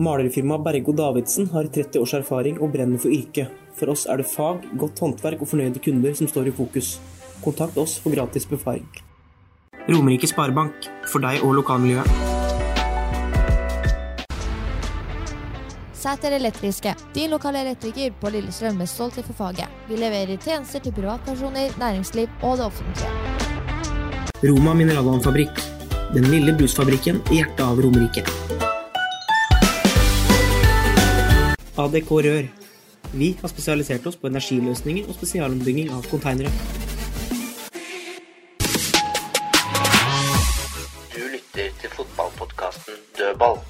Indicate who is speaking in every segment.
Speaker 1: Malerfirmaet Bergo Davidsen har 30 års erfaring og brenner for yrket. For oss er det fag, godt håndverk og fornøyde kunder som står i fokus. Kontakt oss for gratis befaring. Romerike Sparebank, for deg og lokalmiljøet.
Speaker 2: Sæter Elektriske, din lokale elektriker på Lillestrøm med stolthet for faget. Vi leverer tjenester til privatpersoner, næringsliv og det offentlige.
Speaker 1: Roma Mineralvannfabrikk. Den lille brusfabrikken i hjertet av Romerike. ADK Rør. Vi har spesialisert oss på energiløsninger og spesialombygging av konteinere.
Speaker 3: Du lytter til fotballpodkasten Dødball.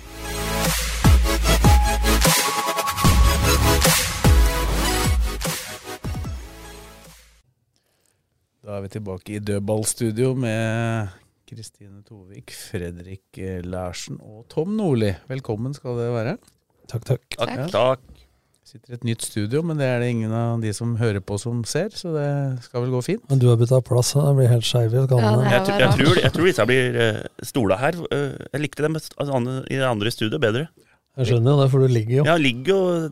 Speaker 4: Da er vi tilbake i dødballstudio med Kristine Tovik, Fredrik eh, Larsen og Tom Nordli. Velkommen skal dere være.
Speaker 5: Takk, takk.
Speaker 4: Takk. takk. Sitter i et nytt studio, men det er det ingen av de som hører på som ser, så det skal vel gå fint.
Speaker 5: Men du har bytta plass, så det blir helt skeiv i skallene.
Speaker 2: jeg, jeg tror eh, det. Eh, altså,
Speaker 5: Jeg skjønner jo det, for du ligger jo.
Speaker 2: altså.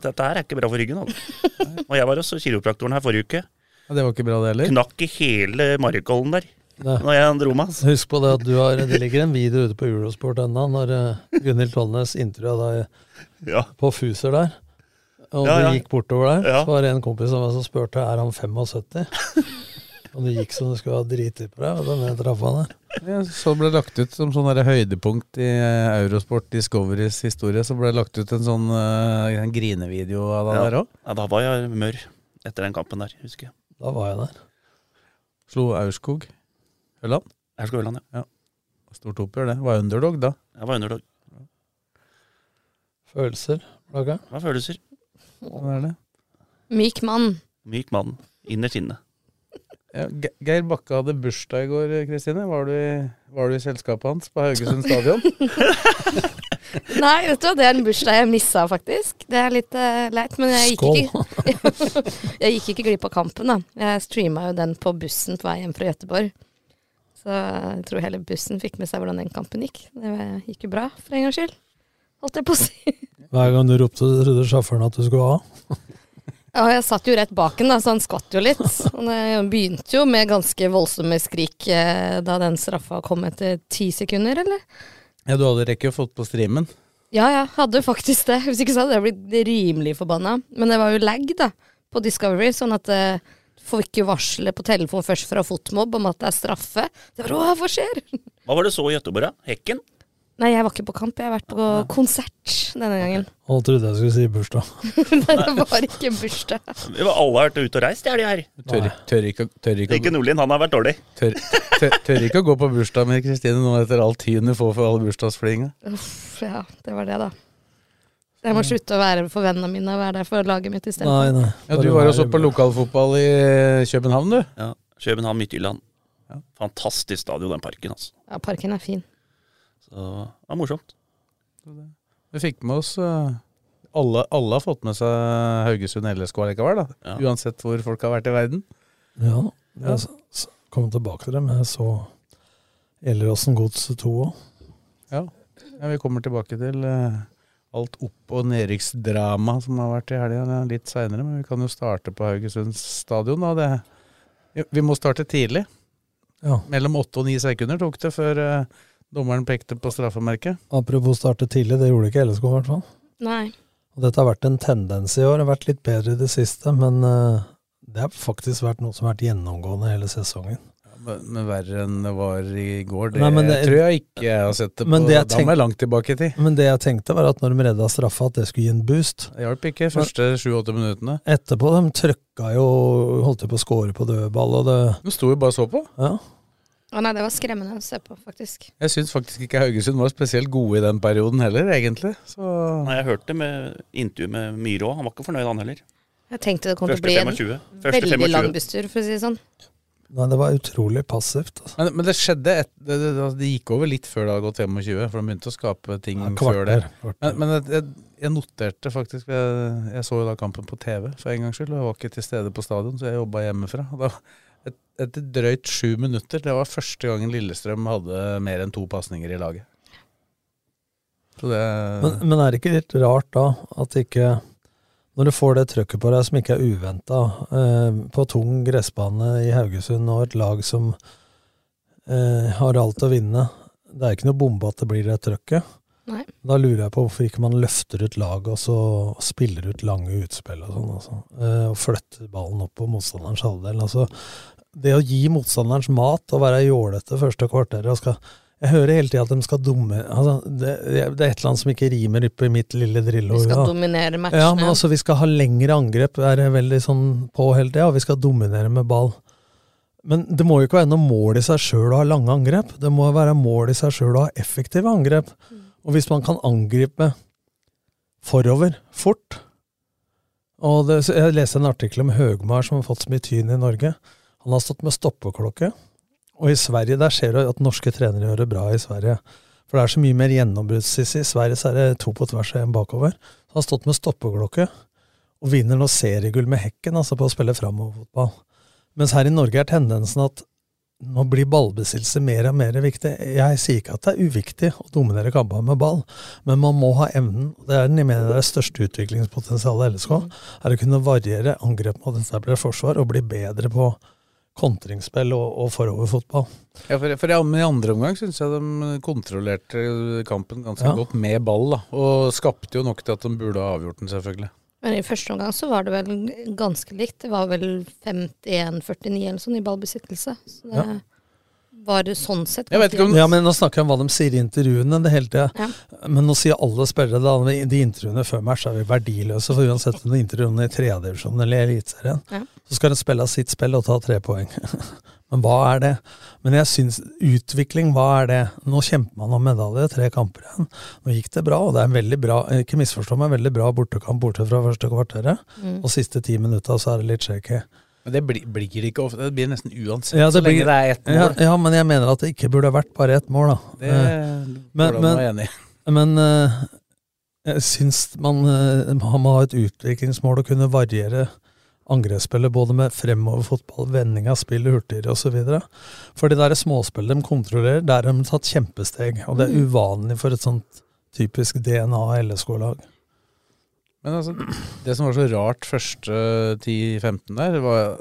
Speaker 4: Ja, det var ikke bra det heller.
Speaker 5: Det.
Speaker 2: altså.
Speaker 5: Husk på det at du har, det ligger en video ute på Eurosport ennå, når eh, Gunhild Tollnes intervjua deg på Fuser der. Og du gikk bortover der, så var det en kompis av meg som spurte er han 75. Og du gikk som du skulle ha driti på deg. Og den trappa der.
Speaker 4: Ja, så ble det lagt ut som sånn der høydepunkt i eh, Eurosport Discoverys historie, så ble det lagt ut en sånn eh, en grinevideo av det der òg.
Speaker 5: Da var jeg der.
Speaker 4: Slo Aurskog Ørland. ja. Stort oppgjør, det. Var underdog, da.
Speaker 5: Følelser. Plaga.
Speaker 4: Sånn er det.
Speaker 2: Myk mann.
Speaker 4: Ja, Ge- Geir Bakke hadde bursdag i går, eh, Kristine. Var, du i- var du i selskapet hans på Haugesund stadion?
Speaker 2: Nei, vet du hva, det er en bursdag jeg missa, faktisk. Det er litt eh, leit, men jeg gikk, ikke, jeg gikk ikke glipp av kampen, da. Jeg streama jo den på bussen på vei hjem fra Gøteborg. Så jeg tror hele bussen fikk med seg hvordan den kampen gikk. Det var- gikk jo bra, for en gangs skyld. Holdt jeg på å si.
Speaker 5: Hver gang du ropte, så trodde sjåføren at du skulle ha.
Speaker 2: Ja, jeg satt jo rett bak den, da, så han skvatt jo litt. Han eh, begynte jo med ganske voldsomme skrik eh, da den straffa kom etter ti sekunder, eller?
Speaker 4: Ja, du hadde rekke å fått på streamen.
Speaker 2: Ja, ja, hadde faktisk det. Hvis ikke så hadde jeg blitt rimelig forbanna. Men det var jo lag da, på Discovery, sånn at eh, du får ikke varsle på telefon først fra Fotmob om at det er straffe. Det var, Åh, hva skjer?
Speaker 3: Hva var det så i Gøteborg, da? Hekken?
Speaker 2: Nei, jeg var ikke på kamp, jeg har vært på konsert denne gangen.
Speaker 5: Og trodde jeg skulle si bursdag.
Speaker 2: Nei, det var ikke bursdag.
Speaker 3: Vi var alle har vært ute og reist i helga her.
Speaker 4: Tør, tør, ikke, å- tør, ikke, å-
Speaker 3: Ikke Nordlien, han har vært dårlig.
Speaker 4: tør, tør, tør ikke å gå på bursdag med Kristine nå etter all tiden du får for all bursdagsflyginga.
Speaker 2: Uff, ja, det var det, da. Jeg må slutte å være for vennene mine og være der for laget mitt isteden.
Speaker 5: Nei, nei.
Speaker 4: Ja, du
Speaker 5: Bare
Speaker 4: var
Speaker 5: vær
Speaker 4: jo så
Speaker 5: i-
Speaker 4: på lokalfotball i eh, København, du.
Speaker 3: Ja, København, Midtjylland. Fantastisk stadion, den parken, altså.
Speaker 2: Ja, parken er fin.
Speaker 3: Så det var morsomt.
Speaker 4: Vi fikk med oss eh, alle, alle har fått med seg Haugesund LSK likevel, da.
Speaker 3: Ja.
Speaker 4: Uansett hvor folk har vært i verden.
Speaker 5: Ja, jeg s- s- kom tilbake til det, men jeg så Elleråsen Gods 2 òg.
Speaker 4: Ja, vi kommer tilbake til eh, alt opp- og nedrykksdrama som har vært i helga litt seinere, men vi kan jo starte på Haugesund stadion, da. Det, vi- vi må starte tidlig.
Speaker 5: Ja.
Speaker 4: Mellom åtte og ni sekunder tok det før eh, dommeren pekte på straffemerket.
Speaker 5: Apropos starte tidlig, det gjorde ikke LSK i hvert fall.
Speaker 2: Nei.
Speaker 5: Og dette har vært en tendens i år, det har vært litt bedre i det siste, men eh, det har faktisk vært noe som har vært gjennomgående hele sesongen.
Speaker 4: Men, men verre enn det var i går, det,
Speaker 5: Nei, men det-
Speaker 4: tror jeg ikke jeg har sett det på.
Speaker 5: Men det jeg
Speaker 4: Da må jeg langt tilbake i tid.
Speaker 5: Men det jeg tenkte, var at når de redda straffa, at det skulle gi en boost.
Speaker 4: Det hjalp ikke første sju-åtte minuttene.
Speaker 5: Etterpå de trøkka jo, holdt jo på å score på dødball, og det
Speaker 4: De sto jo bare og så på.
Speaker 5: Ja.
Speaker 2: Å nei, det var skremmende å se på, faktisk.
Speaker 4: Jeg syns faktisk ikke Haugesund var spesielt gode i den perioden heller, egentlig. Så
Speaker 3: Nei, jeg hørte med intervju med Myhre òg. Han var ikke fornøyd, han heller.
Speaker 2: Jeg tenkte det kom til å
Speaker 3: Første
Speaker 2: bli en
Speaker 3: 25. Første
Speaker 2: veldig
Speaker 3: 25.
Speaker 2: lang busstur, for å si det sånn.
Speaker 5: Nei, det var utrolig passivt. Altså.
Speaker 4: Men, men det skjedde et, det, det, altså, det gikk over litt før det hadde gått 25, for de begynte å skape ting
Speaker 5: Ja, kvarter,
Speaker 4: Mm, før det.
Speaker 5: kvarter.
Speaker 4: Men, men jeg, jeg noterte faktisk jeg, jeg så jo da kampen på TV for en gangs skyld, og jeg var ikke til stede på stadion, så jeg jobba hjemmefra. Og da, et, etter drøyt sju minutter Det var første gangen Lillestrøm hadde mer enn to pasninger i laget. Så det
Speaker 5: Men, men er det ikke litt rart da at ikke Når du får det trøkket på deg som ikke er uventa, eh, på tung gressbane i Haugesund og et lag som eh, har alt å vinne Det er ikke noe bombe at det blir det trøkket.
Speaker 2: Nei.
Speaker 5: Da lurer jeg på hvorfor ikke man løfter ut laget og så spiller ut lange utspill og sånn. Altså. Eh, og flytter ballen opp på motstanderens halvdel. Altså, det å gi motstanderens mat og være jålete første kvarteret og skal jeg hører hele tida at de skal dumme altså, det, det er et eller annet som ikke rimer oppe i mitt lille
Speaker 2: Vi
Speaker 5: drilleord.
Speaker 2: skal
Speaker 5: da.
Speaker 2: dominere matchene.
Speaker 5: Ja, men altså, vi skal ha lengre angrep, er det veldig sånn på hele tida, og vi skal dominere med ball. Men det må jo ikke være noe mål i seg sjøl å ha lange angrep. Det må være mål i seg sjøl å ha effektive angrep. Og hvis man kan angripe forover fort og det, så Jeg leste en artikkel om Høgmar som har fått så mye tyn i Norge. Han har stått med stoppeklokke. Og i Sverige der ser du at norske trenere gjør det bra i Sverige. For det er så mye mer gjennombruddssiss. I Sverige så er det to på tvers og én bakover. Så han har stått med stoppeklokke og vinner nå seriegull med hekken altså på å spille framoverfotball. Mens her i Norge er tendensen at nå blir ballbesittelse mer og mer viktig. Jeg sier ikke at det er uviktig å dominere kampene med ball, men man må ha evnen. og Det er den jeg mener det er største utviklingspotensialet i LSK. Er å kunne variere angrep mot etablert forsvar og bli bedre på kontringsspill og, og foroverfotball.
Speaker 4: Ja, for, for i- men I andre omgang syns jeg de kontrollerte kampen ganske
Speaker 5: Ja.
Speaker 4: godt med ball. da, Og skapte jo nok til at de burde ha avgjort den, selvfølgelig.
Speaker 2: Men i første omgang så var det vel ganske likt. Det var vel 51-49 eller sånn i ballbesittelse. Så det var jo sånn sett
Speaker 4: Jeg vet ikke om-
Speaker 5: Ja, men Nå snakker jeg om hva de sier i intervjuene. det hele tiden.
Speaker 2: Ja.
Speaker 5: Men nå sier alle spillere da, de intervjuene før match er vi verdiløse. For uansett om det er intervjuene i tredjedivisjon eller i Eliteserien,
Speaker 2: Ja.
Speaker 5: så skal de spille av sitt spill og ta tre poeng. men hva er det? Men jeg syns utvikling, hva er det? Nå kjemper man om medalje, tre kamper igjen. Nå gikk det bra, og det er en veldig bra, ikke misforstå meg, veldig bra bortekamp borte fra første kvarteret.
Speaker 2: Mm.
Speaker 5: Og siste ti minutta så er det litt shaky.
Speaker 4: Men det blir, blir det ikke ofte. Det blir nesten uansett
Speaker 5: Ja,
Speaker 4: så
Speaker 5: det
Speaker 4: lenge
Speaker 5: blir-
Speaker 4: det er ett mål.
Speaker 5: Ja, ja, men jeg mener at det ikke burde vært bare ett mål, da.
Speaker 4: Det
Speaker 5: Eh,
Speaker 4: men, går
Speaker 5: men-
Speaker 4: det an å
Speaker 5: men-
Speaker 4: være enig i.
Speaker 5: Men eh, jeg syns man eh, man må ha et utviklingsmål å kunne variere angrepsspillet både med fremoverfotball, vending av spillet hurtigere osv. For det der småspillet de kontrollerer, der har de tatt kjempesteg. Og
Speaker 3: Mm.
Speaker 5: det er uvanlig for et sånt typisk DNA LSK-lag.
Speaker 4: Men altså, det som var så rart første 10-15 der, var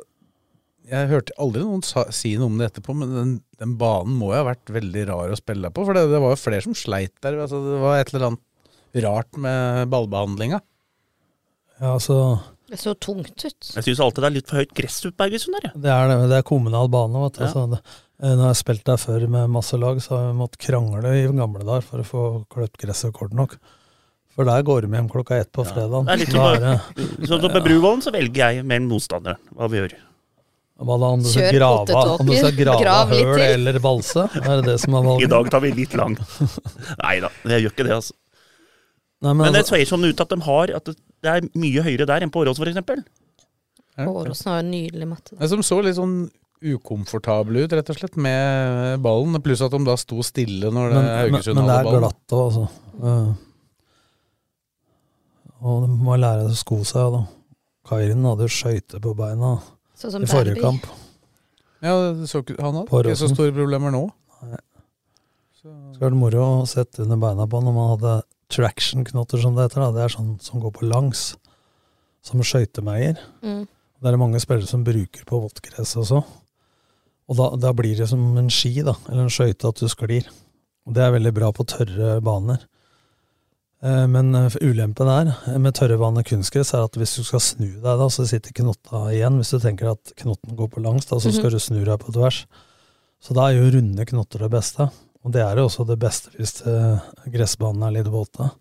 Speaker 4: Jeg hørte aldri noen sa, si noe om det etterpå, men den, den banen må jo ha vært veldig rar å spille på. For det, det var jo flere som sleit der. Altså, det var et eller annet rart med ballbehandlinga.
Speaker 5: Ja, altså,
Speaker 2: Det så tungt ut.
Speaker 3: Jeg syns alltid det er litt for høyt gress ute på Haugesund der, jeg.
Speaker 5: det er, det- det er kommunal bane. Vet du.
Speaker 3: Ja.
Speaker 5: Altså, det, eh, når jeg har spilt der før med masse lag, så har jeg måttet krangle i gamle dager for å få kløpt gresset kort nok. For der går de hjem klokka ett på fredagen.
Speaker 3: Det er litt
Speaker 5: Da
Speaker 3: som-
Speaker 5: er det-
Speaker 3: Så så på Bruvollen så velger jeg mellom motstandere hva vi gjør.
Speaker 5: Hva da, om du skal
Speaker 2: Kjør
Speaker 5: grave,
Speaker 2: potetåker.
Speaker 5: om du skal grave
Speaker 2: Grav litt
Speaker 5: høl
Speaker 2: til.
Speaker 5: eller balse? Er det det som er
Speaker 3: I
Speaker 5: valget?
Speaker 3: dag tar vi litt lang. Nei da, jeg gjør ikke det, altså.
Speaker 5: Nei, men
Speaker 3: Men det
Speaker 5: altså,
Speaker 3: ser sånn ut at de har At det det er mye høyere der enn på Årås, f.eks.
Speaker 2: Åråsen har jo nydelig matte. da.
Speaker 4: Men Som så litt sånn ukomfortable ut, rett og slett, med ballen. Pluss at de da sto stille når det
Speaker 5: men, men,
Speaker 4: Haugesund
Speaker 5: men det
Speaker 4: hadde
Speaker 5: er
Speaker 4: ballen.
Speaker 5: glatt òg, altså. Eh, og du må lære deg å sko seg, da. Kairin hadde jo skøyter på beina
Speaker 2: Sånn som
Speaker 5: i forrige
Speaker 2: Berby.
Speaker 5: kamp.
Speaker 4: Ja, det så, ikke- han hadde
Speaker 5: På
Speaker 4: ikke så
Speaker 5: Rosen.
Speaker 4: store problemer nå.
Speaker 5: Det var moro å sette under beina på når man hadde traction-knotter, som det heter. Da. Det er sånn som går på langs, som skøytemeier.
Speaker 2: Mm.
Speaker 5: Det er det mange spillere som bruker på våttgress også. Og da, da blir det som en ski, da, eller en skøyte, at du sklir. Og det er veldig bra på tørre baner. Eh, Men eh, ulempen er, eh, med tørre baner kunstgress, er at hvis du skal snu deg, da, så sitter knotta igjen. Hvis du tenker at knotten går på langs, da, så skal du snu deg på tvers. Så da er jo runde knotter det beste. Og det er jo også det beste hvis eh, gressbanen er litt våte.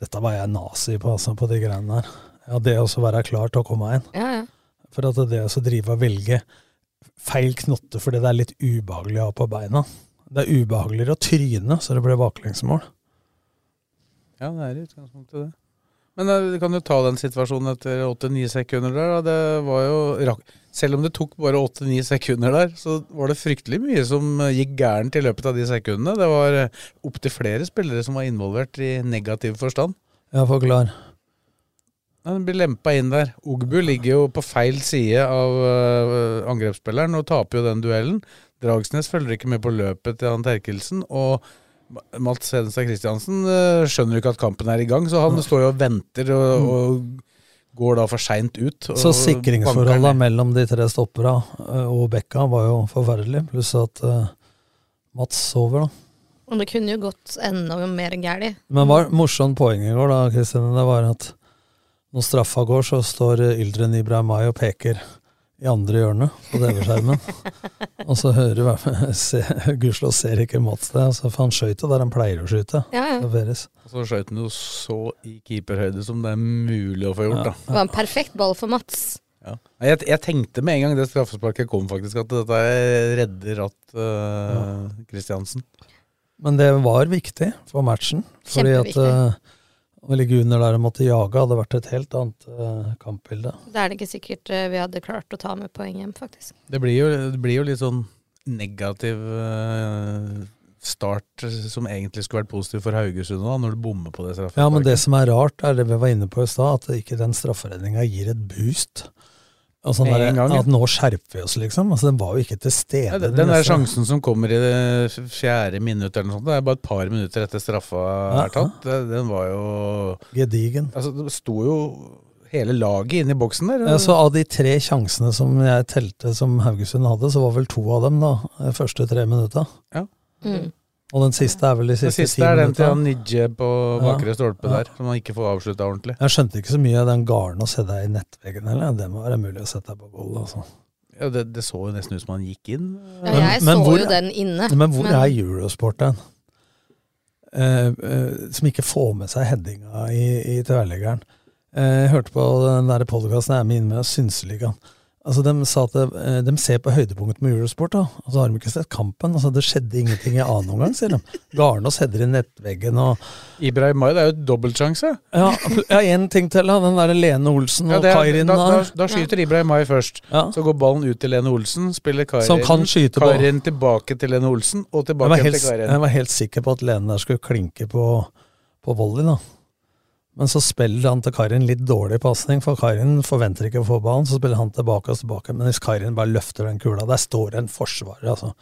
Speaker 5: Dette var jeg nazi på, altså, på de greiene der. Ja, det å så være klar til å komme meg inn.
Speaker 2: Ja, ja.
Speaker 5: For at det å så drive og velge feil knotte fordi det er litt ubehagelig å ha på beina. Det er ubehageligere å tryne, så det blir baklengsmål.
Speaker 4: Ja, det er i utgangspunktet det. Men eh, du kan jo ta den situasjonen etter 8-9 sekunder der. Da. Det var jo rak Selv om det tok bare 8-9 sekunder der, så var det fryktelig mye som eh, gikk gærent i løpet av de sekundene. Det var eh, opptil flere spillere som var involvert i negativ forstand.
Speaker 5: Ja, forklar.
Speaker 4: Nei, Den blir lempa inn der. Ogbu ligger jo på feil side av øh, angrepsspilleren og taper jo den duellen. Dragsnes følger ikke med på løpet til han Terkelsen. Og Ma- Mats Hedenstad Christiansen øh, skjønner jo ikke at kampen er i gang, så han står jo og venter og, og går da for seint ut. Og
Speaker 5: Så sikringsforholda mellom de tre stoppera eh, og Bekka var jo forferdelig, pluss at eh, Mats sover, da.
Speaker 2: Og det kunne jo gått enda mer gærent.
Speaker 5: Men var morsomt poeng i går, da, Kristine, det var at når straffa går, så står eh, Yldren Ibrahimay og peker i andre hjørnet på TV-skjermen. og så hører du hva- se, Gudskjelov ser ikke Mats det, altså, for han skøyt jo der han pleier å skyte.
Speaker 2: Ja, ja.
Speaker 5: Det Veres.
Speaker 4: Og så skjøt han jo så i keeperhøyde som det er mulig å få gjort, da.
Speaker 2: Det var en perfekt ball for Mats.
Speaker 4: Ja. Nei, Jeg, jeg tenkte med en gang det straffesparket kom, faktisk, at dette redder at øh, Christiansen.
Speaker 5: Men det var viktig for matchen. Fordi at
Speaker 2: Kjempeviktig.
Speaker 5: eh, å ligge under der og måtte jage hadde vært et helt annet eh, kampbilde.
Speaker 2: Da er det ikke sikkert eh, vi hadde klart å ta med poeng hjem, faktisk.
Speaker 4: Det blir jo, det blir jo litt sånn negativ eh, start eh, som egentlig skulle vært positiv for Haugesund nå, da, når du bommer på det straffesparket.
Speaker 5: Ja, men det som er rart, er det vi var inne på i stad, at ikke den strafferedninga gir et boost. Altså,
Speaker 4: Med
Speaker 5: der,
Speaker 4: en gang, ja.
Speaker 5: At nå skjerper vi oss, liksom. Altså, den var jo ikke til stede.
Speaker 4: Ja, det-
Speaker 5: den
Speaker 4: den der
Speaker 5: neste-
Speaker 4: sjansen som kommer i det f- fjerde minutt eller noe sånt, det er bare et par minutter etter straffa er tatt. Det- Den var jo
Speaker 5: Gedigen.
Speaker 4: Altså, det sto jo hele laget inne i boksen der.
Speaker 5: Ja, så av de tre sjansene som jeg telte som Haugesund hadde, så var vel to av dem, da, de første tre minutta.
Speaker 4: Ja.
Speaker 2: Mm.
Speaker 5: Og den siste er vel de
Speaker 4: Den
Speaker 5: siste,
Speaker 4: siste
Speaker 5: ti
Speaker 4: er den til
Speaker 5: minutta.
Speaker 4: han Nidje på bakre
Speaker 5: Ja,
Speaker 4: stolpe
Speaker 5: ja.
Speaker 4: der, som han ikke får avslutta ordentlig.
Speaker 5: Jeg skjønte ikke så mye av den garnen å sette deg i nettveggen heller. Det må være mulig å sette deg på goal, altså.
Speaker 4: Ja, det, det så jo nesten ut som han gikk inn.
Speaker 2: Ja,
Speaker 5: Men-
Speaker 2: jeg
Speaker 5: men
Speaker 2: så
Speaker 5: hvor-
Speaker 2: jo den inne.
Speaker 5: Men hvor er eurosporten? Eh, eh, som ikke får med seg headinga i, i tverrleggeren. Eh, jeg hørte på den der podkasten jeg er med inn med, Synseligaen. Altså, de sa at eh, de ser på høydepunkt med Eurosport, da. Og så har de ikke sett kampen. Altså, det skjedde ingenting i annen omgang, sier de. Garnås header i nettveggen og
Speaker 4: Ibrahim May, det er jo dobbeltsjanse.
Speaker 5: Ja, ja én ting til, da. Den der Lene Olsen
Speaker 4: Ja,
Speaker 5: og
Speaker 4: det er-
Speaker 5: Kairin
Speaker 4: da, da,
Speaker 5: der.
Speaker 4: da skyter Ibrahim Mai først.
Speaker 5: Ja.
Speaker 4: Så går ballen ut til Lene Olsen, spiller Kairin,
Speaker 5: Som kan skyte på.
Speaker 4: Kairin tilbake til Lene Olsen, og
Speaker 5: Jeg
Speaker 4: tilbake
Speaker 5: var,
Speaker 4: igjen
Speaker 5: helt,
Speaker 4: til Kairin.
Speaker 5: jeg var helt sikker på at Lene der skulle klinke på, på volley, da. Men så spiller han til Karin litt dårlig pasning, for Karin forventer ikke å få ballen. Så spiller han tilbake og tilbake, men hvis Karin bare løfter den kula Der står en forsvarer, altså.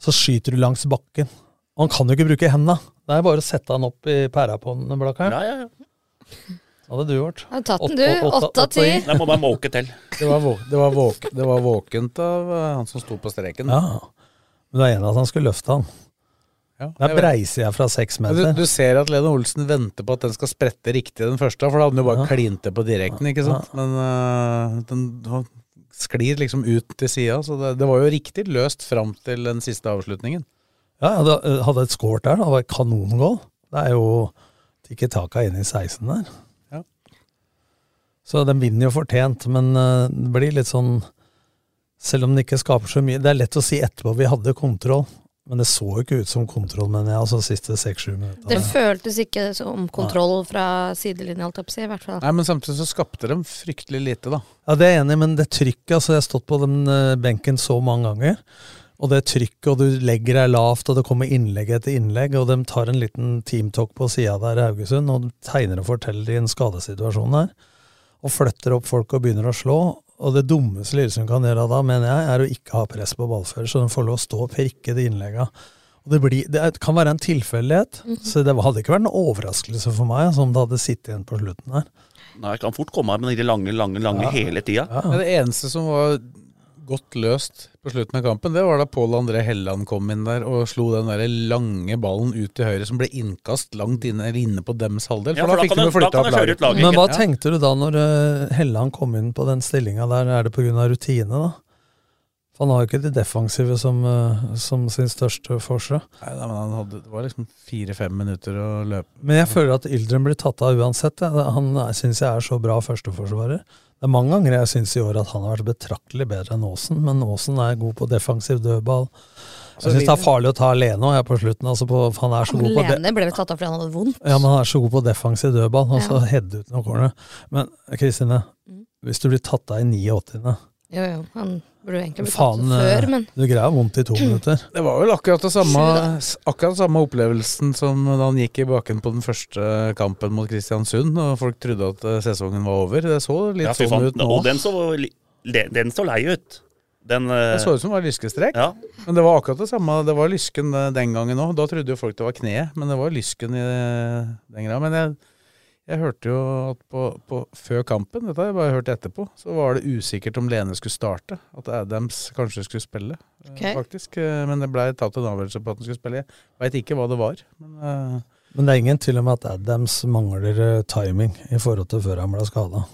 Speaker 5: Så skyter du langs bakken. Og han kan jo ikke bruke henda. Det er bare å sette han opp i pæra på den, Blakkaren.
Speaker 3: Ja, ja, ja.
Speaker 5: Hadde du gjort.
Speaker 2: Har du tatt den,
Speaker 5: Åtte-
Speaker 2: du?
Speaker 5: åtte-
Speaker 2: Åtte av
Speaker 5: åtte
Speaker 2: ti.
Speaker 5: i.
Speaker 3: Det må bare måke til.
Speaker 4: Det var, våk, det, var våk, det var våkent av eh, han som sto på streken.
Speaker 5: Ja. Men du er enig i at han skulle løfte han.
Speaker 4: Ja, jeg
Speaker 5: Der
Speaker 4: vet.
Speaker 5: breiser jeg fra seks
Speaker 4: Men du,
Speaker 5: meter.
Speaker 4: du ser at Lene Olsen venter på at den skal sprette riktig den første, for da hadde den jo bare klint det på direkten, ikke sant. Men eh, den han sklir liksom ut til sida, så det, det var jo riktig løst fram til den siste avslutningen.
Speaker 5: Ja, jeg hadde, eh, hadde et score der. da. Det var et kanongål. Det er jo Tikki Taka inne i 16 der.
Speaker 4: Ja.
Speaker 5: Så den vinner jo fortjent, men eh, det blir litt sånn Selv om den ikke skaper så mye Det er lett å si etterpå vi hadde kontroll, men det så jo ikke ut som kontroll, mener jeg, altså siste 6-7 minutter.
Speaker 2: Det føltes ikke som kontroll fra sidelinja, holdt jeg på å si. I hvert fall.
Speaker 4: Nei, men samtidig så skapte de fryktelig lite, da.
Speaker 5: Ja, det er jeg enig, i, men det trykket altså Jeg har stått på den eh, benken så mange ganger. Og det trykket, og du legger deg lavt, og det kommer innlegg etter innlegg, og de tar en liten teamtalk på sida der i Haugesund, og de tegner og forteller i en skadesituasjon der, og flytter opp folk og begynner å slå. Og det dummeste Lillesund kan gjøre da, mener jeg, er å ikke ha press på ballfører, så de får lov å stå og prikke de innlegga. Og det, blir, det er- kan være en tilfeldighet, så det hadde ikke vært en overraskelse for meg altså, om det hadde sittet igjen på slutten her.
Speaker 3: Nei, jeg kan fort komme her med de lange, lange, lange hele tida.
Speaker 5: Ja.
Speaker 4: Men det eneste som var godt løst på slutten av kampen, det var da Pål André Helland kom inn der og slo den der lange ballen ut til høyre, som ble innkast langt inne, eller inne på dems halvdel.
Speaker 3: Ja,
Speaker 4: For da fikk
Speaker 3: kan
Speaker 4: de
Speaker 3: jeg-
Speaker 4: jo flytta
Speaker 3: da kan
Speaker 4: opp
Speaker 3: jeg kjøre
Speaker 4: laget.
Speaker 3: ut laget.
Speaker 5: Men hva
Speaker 3: Ja.
Speaker 5: tenkte du da når eh, Helland kom inn på den stillinga der? Er det pga. rutine, da? For han har jo ikke det defensive som, eh, som sin største forsøk.
Speaker 4: Nei, nei, men han hadde, det var liksom fire-fem minutter å løpe.
Speaker 5: eh, Men jeg føler at Yldren blir tatt av uansett. jeg. Han syns jeg er så bra førsteforsvarer. Det er mange ganger jeg syns i år at han har vært betraktelig bedre enn Aasen, men Aasen er god på defensiv dødball. Jeg syns det er farlig å ta Lene òg, jeg, på slutten. Altså på, han er så god på det.
Speaker 2: Lene ble vel tatt av fordi han hadde vondt.
Speaker 5: Ja, men han er så god på defensiv dødball, og
Speaker 2: Ja.
Speaker 5: så
Speaker 2: Mm.
Speaker 5: heade ut noen corner. Men Kristine, hvis du blir tatt av i 89.
Speaker 2: Jo, jo, han burde jo egentlig blitt tatt
Speaker 5: Faen,
Speaker 2: av
Speaker 5: eh,
Speaker 2: før, men
Speaker 5: du greier vondt i to minutter.
Speaker 4: Det var vel akkurat det samme, akkurat samme opplevelsen som da han gikk i baken på den første kampen mot Kristiansund, og folk trodde at eh, sesongen var over. Det så litt
Speaker 3: Ja, fy
Speaker 4: sånn
Speaker 3: faen.
Speaker 4: ut nå.
Speaker 3: Og den så, li- den, den så lei ut. Den eh,
Speaker 4: Det så ut som det var lyskestrekk.
Speaker 3: Ja.
Speaker 4: Men det var akkurat det samme. Det var lysken eh, den gangen òg. Da trodde jo folk det var kneet, men det var lysken i eh, den greia. Men jeg, jeg hørte jo at på, på før kampen, dette har jeg bare hørt etterpå, så var det usikkert om Lene skulle starte. At Adams kanskje skulle spille, eh,
Speaker 2: Ok.
Speaker 4: faktisk. Eh, Men det blei tatt en avgjørelse på at han skulle spille. Jeg veit ikke hva det var. Men eh,
Speaker 5: Men det er ingen tvil om at Adams mangler eh, timing i forhold til før han ble skada.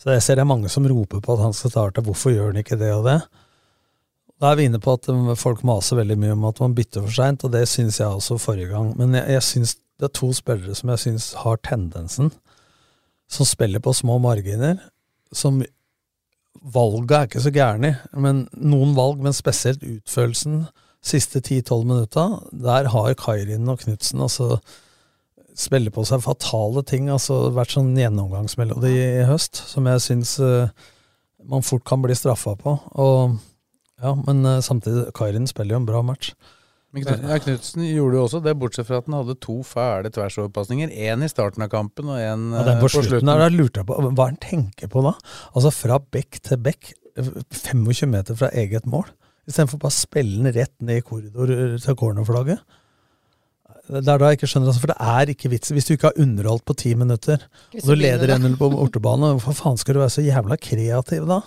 Speaker 5: Så jeg ser det er mange som roper på at han skal starte. Hvorfor gjør han ikke det og det? Da er vi inne på at eh, folk maser veldig mye om at man bytter for seint, og det syns jeg også forrige gang. Men jeg, jeg synes det er to spillere som jeg syns har tendensen, som spiller på små marginer, som valget er ikke så gærne, men noen valg, men spesielt utførelsen siste 10-12 minutta, der har Kairin og Knutsen altså spiller på seg fatale ting, altså vært sånn gjennomgangsmelodi i høst, som jeg syns eh, man fort kan bli straffa på. Og ja, men eh, samtidig, Kairin spiller jo en bra match.
Speaker 4: Men Knut, ja, Knutsen gjorde jo også det, bortsett fra at han hadde to fæle tversoverpasninger. Én i starten av kampen og eh, én
Speaker 5: Ja, den på slutten der, da lurte jeg på hva han tenker på da? Altså fra bekk til bekk, 25 meter fra eget mål, istedenfor bare å spille den rett ned i korridor eh, til cornerflagget. Det er da jeg ikke skjønner, altså, for det er ikke vits. Hvis du ikke har underholdt på ti minutter, og du leder 1-0 på bortebane, hvorfor faen skal du være så jævla kreativ da?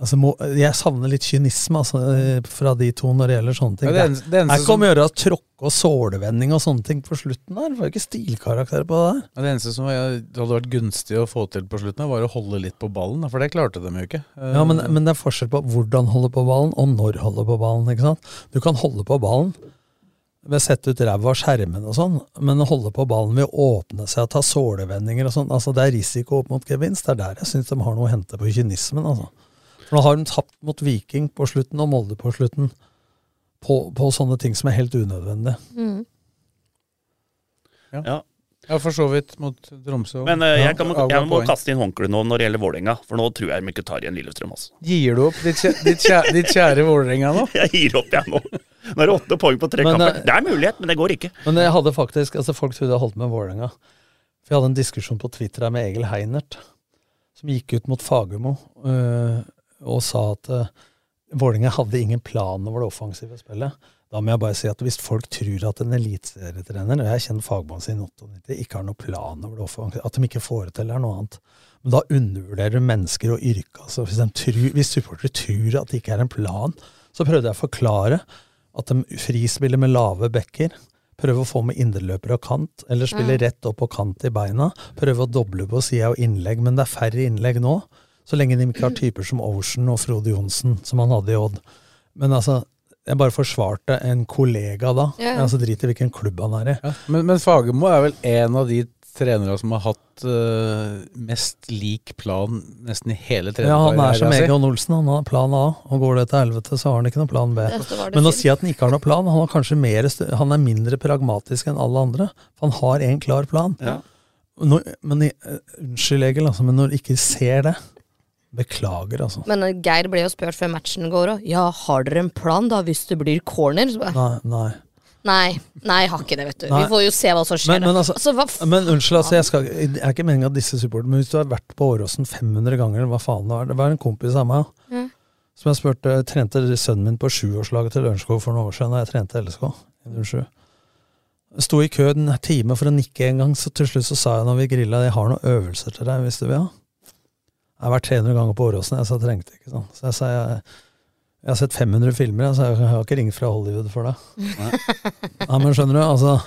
Speaker 5: Altså, må, jeg savner litt kynisme altså, fra de to når det gjelder sånne ting.
Speaker 4: Ja, det eneste- det eneste
Speaker 5: er ikke
Speaker 4: som-
Speaker 5: om å gjøre å tråkke og sålevending og sånne ting på slutten der. Det var jo ikke stilkarakter på det der.
Speaker 4: Ja, Det eneste som var- hadde vært gunstig å få til på slutten, var å holde litt på ballen. da, For det klarte de jo ikke. Eh,
Speaker 5: Ja, men, men det er forskjell på hvordan holde på ballen, og når holde på ballen. ikke sant? Du kan holde på ballen ved å sette ut ræva av skjermen og sånn, men å holde på ballen ved å åpne seg og ta sålevendinger og sånn, altså det er risiko opp mot gevinst. Det er der jeg syns de har noe å hente på kynismen, altså. For nå har de tapt mot Viking på slutten og Molde på slutten på, på sånne ting som er helt unødvendig.
Speaker 3: ja.
Speaker 4: Ja, for så vidt mot Tromsø.
Speaker 3: Men eh, jeg, kan, jeg må
Speaker 4: kaste
Speaker 3: kaste inn håndkleet nå når det gjelder Vålerenga, for nå tror jeg de ikke tar igjen Lillestrøm. Altså.
Speaker 4: Gir du opp ditt kjære, ditt kjære, ditt kjære Vålerenga nå?
Speaker 3: Jeg gir opp, jeg nå. Nå er det åtte poeng på tre
Speaker 5: Men,
Speaker 3: kamper.
Speaker 5: eh,
Speaker 3: Det er mulighet, men det går ikke.
Speaker 5: Men jeg hadde faktisk, altså folk trodde jeg holdt med Vålerenga. For jeg hadde en diskusjon på Twitter her med Egil Heinert, som gikk ut mot Fagermo øh, og sa at øh, Vålerenga hadde ingen plan over det offensive spillet. Da må jeg bare si at hvis folk tror at en eliteserietrener, og jeg har kjent fagmannen sin 98, ikke har noen plan over det offensive, at de ikke får det til, er noe annet. Men da undervurderer du mennesker og yrket. Altså, hvis, de tror- hvis supportere tror at det ikke er en plan, så prøvde jeg å forklare at de frispiller med lave bekker. Prøve å få med indreløpere og kant, eller spille
Speaker 2: Mm.
Speaker 5: rett opp og kant i beina. Prøve å doble på sida og innlegg, men det er færre innlegg nå. Så lenge de ikke har typer som Ocean og Frode Johnsen, som han hadde i Odd. Men altså, jeg bare forsvarte en kollega da.
Speaker 2: Ja, ja.
Speaker 5: Altså Drit i hvilken klubb han er i.
Speaker 4: Ja, men, men Fagermo er vel en av de trenere som har hatt eh, mest lik plan nesten i hele
Speaker 5: Ja, han er som
Speaker 4: sin.
Speaker 5: Egon Olsen, han har plan A. Og går det til helvete, så har han ikke noen plan B.
Speaker 2: Dette var det
Speaker 5: Men å
Speaker 2: fint.
Speaker 5: si at han ikke har noen plan, han, har kanskje mer, st- han er mindre pragmatisk enn alle andre. For han har en klar plan. Når, men i- eh, Unnskyld, Egil, altså, men når du ikke ser det Beklager, altså.
Speaker 2: Men eh, Geir ble jo spurt før matchen går òg. Ja, har dere en plan da hvis det blir corner? Så bare,
Speaker 5: Nei. nei.
Speaker 2: nei, nei, jeg har ikke det, vet du.
Speaker 5: Nei.
Speaker 2: Vi får jo se hva som skjer.
Speaker 5: Men- men altså-
Speaker 2: hva f
Speaker 5: Men unnskyld, altså, jeg skal, det er ikke meningen at disse supporterne Men hvis du har vært på Åråsen 500 ganger, hva faen det var Det var en kompis av meg som jeg spurte Trente sønnen min på sjuårslaget til Lørenskog for noen år siden, da jeg trente LSK. under sju. Sto i kø en time for å nikke en gang, så til slutt så sa jeg når vi grilla Jeg har noen øvelser til deg, hvis du vil ha. Jeg har vært 300 ganger på Åråsen, jeg sa jeg trengte ikke sånn. Så jeg sa jeg, jeg har sett 500 filmer, jeg, så jeg har ikke ringt fra Hollywood for deg. Ja, men skjønner du, altså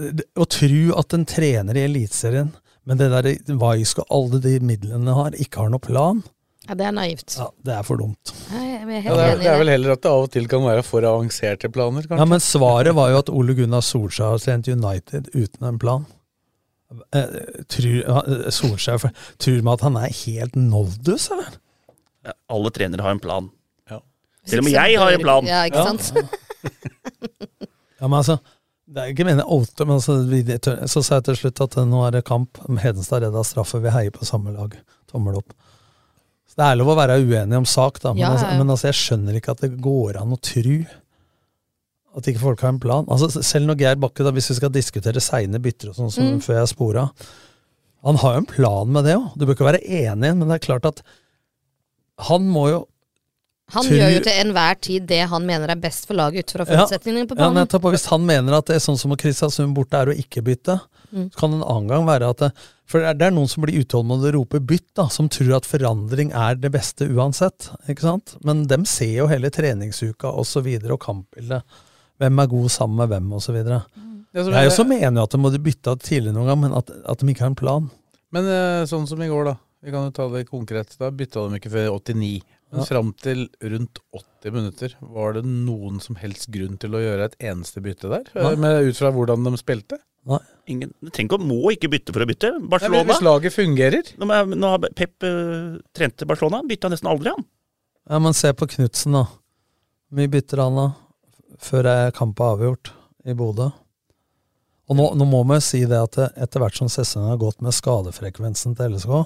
Speaker 5: det- å tro at en trener i Eliteserien med det der Vaisk og alle de midlene han har, ikke har noen plan,
Speaker 2: ja, det er naivt.
Speaker 5: ja, det er for dumt.
Speaker 2: Nei, jeg er
Speaker 4: Ja,
Speaker 2: helt
Speaker 4: det, er,
Speaker 2: enig
Speaker 4: det er
Speaker 2: i
Speaker 4: vel
Speaker 2: det.
Speaker 4: heller at det av og til kan være for avanserte planer, kanskje.
Speaker 5: Ja, Men svaret var jo at Ole Gunnar Solskjær har trent United uten en plan. Eh, Tror, eh, Solskjær for- tror man at han er helt noldus, eller?
Speaker 3: Ja, Alle trenere har en plan.
Speaker 4: Ja.
Speaker 3: Selv om jeg har en plan!
Speaker 2: Ja, ikke sant?
Speaker 5: Ja, men altså, det er jo ikke meningen åtte, men altså, vi, det tør- så sa jeg til slutt at eh, nå er det kamp. Hedenstad redda straffe, vi heier på samme lag. Tommel opp. Så Det er lov å være uenig om sak, da, men,
Speaker 2: Ja, ja,
Speaker 5: altså,
Speaker 2: ja.
Speaker 5: men altså, jeg skjønner ikke at det går an å tru at ikke folk har en plan. Altså, selv når Geir Bakke, da, hvis vi skal diskutere seine bytter og sånn som
Speaker 2: Mm.
Speaker 5: før jeg spora Han har jo en plan med det òg. Du bør ikke være enig, men det er klart at han må jo
Speaker 2: Han
Speaker 5: Tror-
Speaker 2: gjør jo til enhver tid det han mener er best for laget ut fra
Speaker 5: Ja.
Speaker 2: forutsetningene på
Speaker 5: Ja,
Speaker 2: banen.
Speaker 5: nettopp. Og hvis han mener at det er sånn som Kristiansund borte er å ikke bytte,
Speaker 2: Mm.
Speaker 5: så kan det en annen gang være at det, For det er, det er noen som blir utålmodige og roper 'bytt', da, som tror at forandring er det beste uansett. ikke sant? Men dem ser jo hele treningsuka osv. Og, så videre, og kampbildet. Hvem er god sammen med hvem, osv.
Speaker 4: Det som
Speaker 5: Jeg
Speaker 4: er-
Speaker 5: også mener jo at de måtte bytte tidlig noen gang, men at, at de ikke har en plan.
Speaker 4: Men eh, sånn som i går, da. Vi kan jo ta det konkret. Da bytta de ikke før 89. Men
Speaker 5: Ja.
Speaker 4: fram til rundt 80 minutter, var det noen som helst grunn til å gjøre et eneste bytte der?
Speaker 5: Nei.
Speaker 4: Eh, Med, ut fra hvordan de spilte?
Speaker 3: Ingen, du trenger ikke å må ikke bytte for å bytte.
Speaker 4: Nei, men
Speaker 3: Barcelona
Speaker 4: hvis laget fungerer
Speaker 3: Nå er- Nå har Pep eh, trente Barcelona, bytta nesten aldri han.
Speaker 5: Ja, Men se på Knutsen, da. Hvor mye bytter han da? Før er kampen avgjort i Bodø. Og nå, nå må vi si det at det- etter hvert som sesongen har gått med skadefrekvensen til LSK,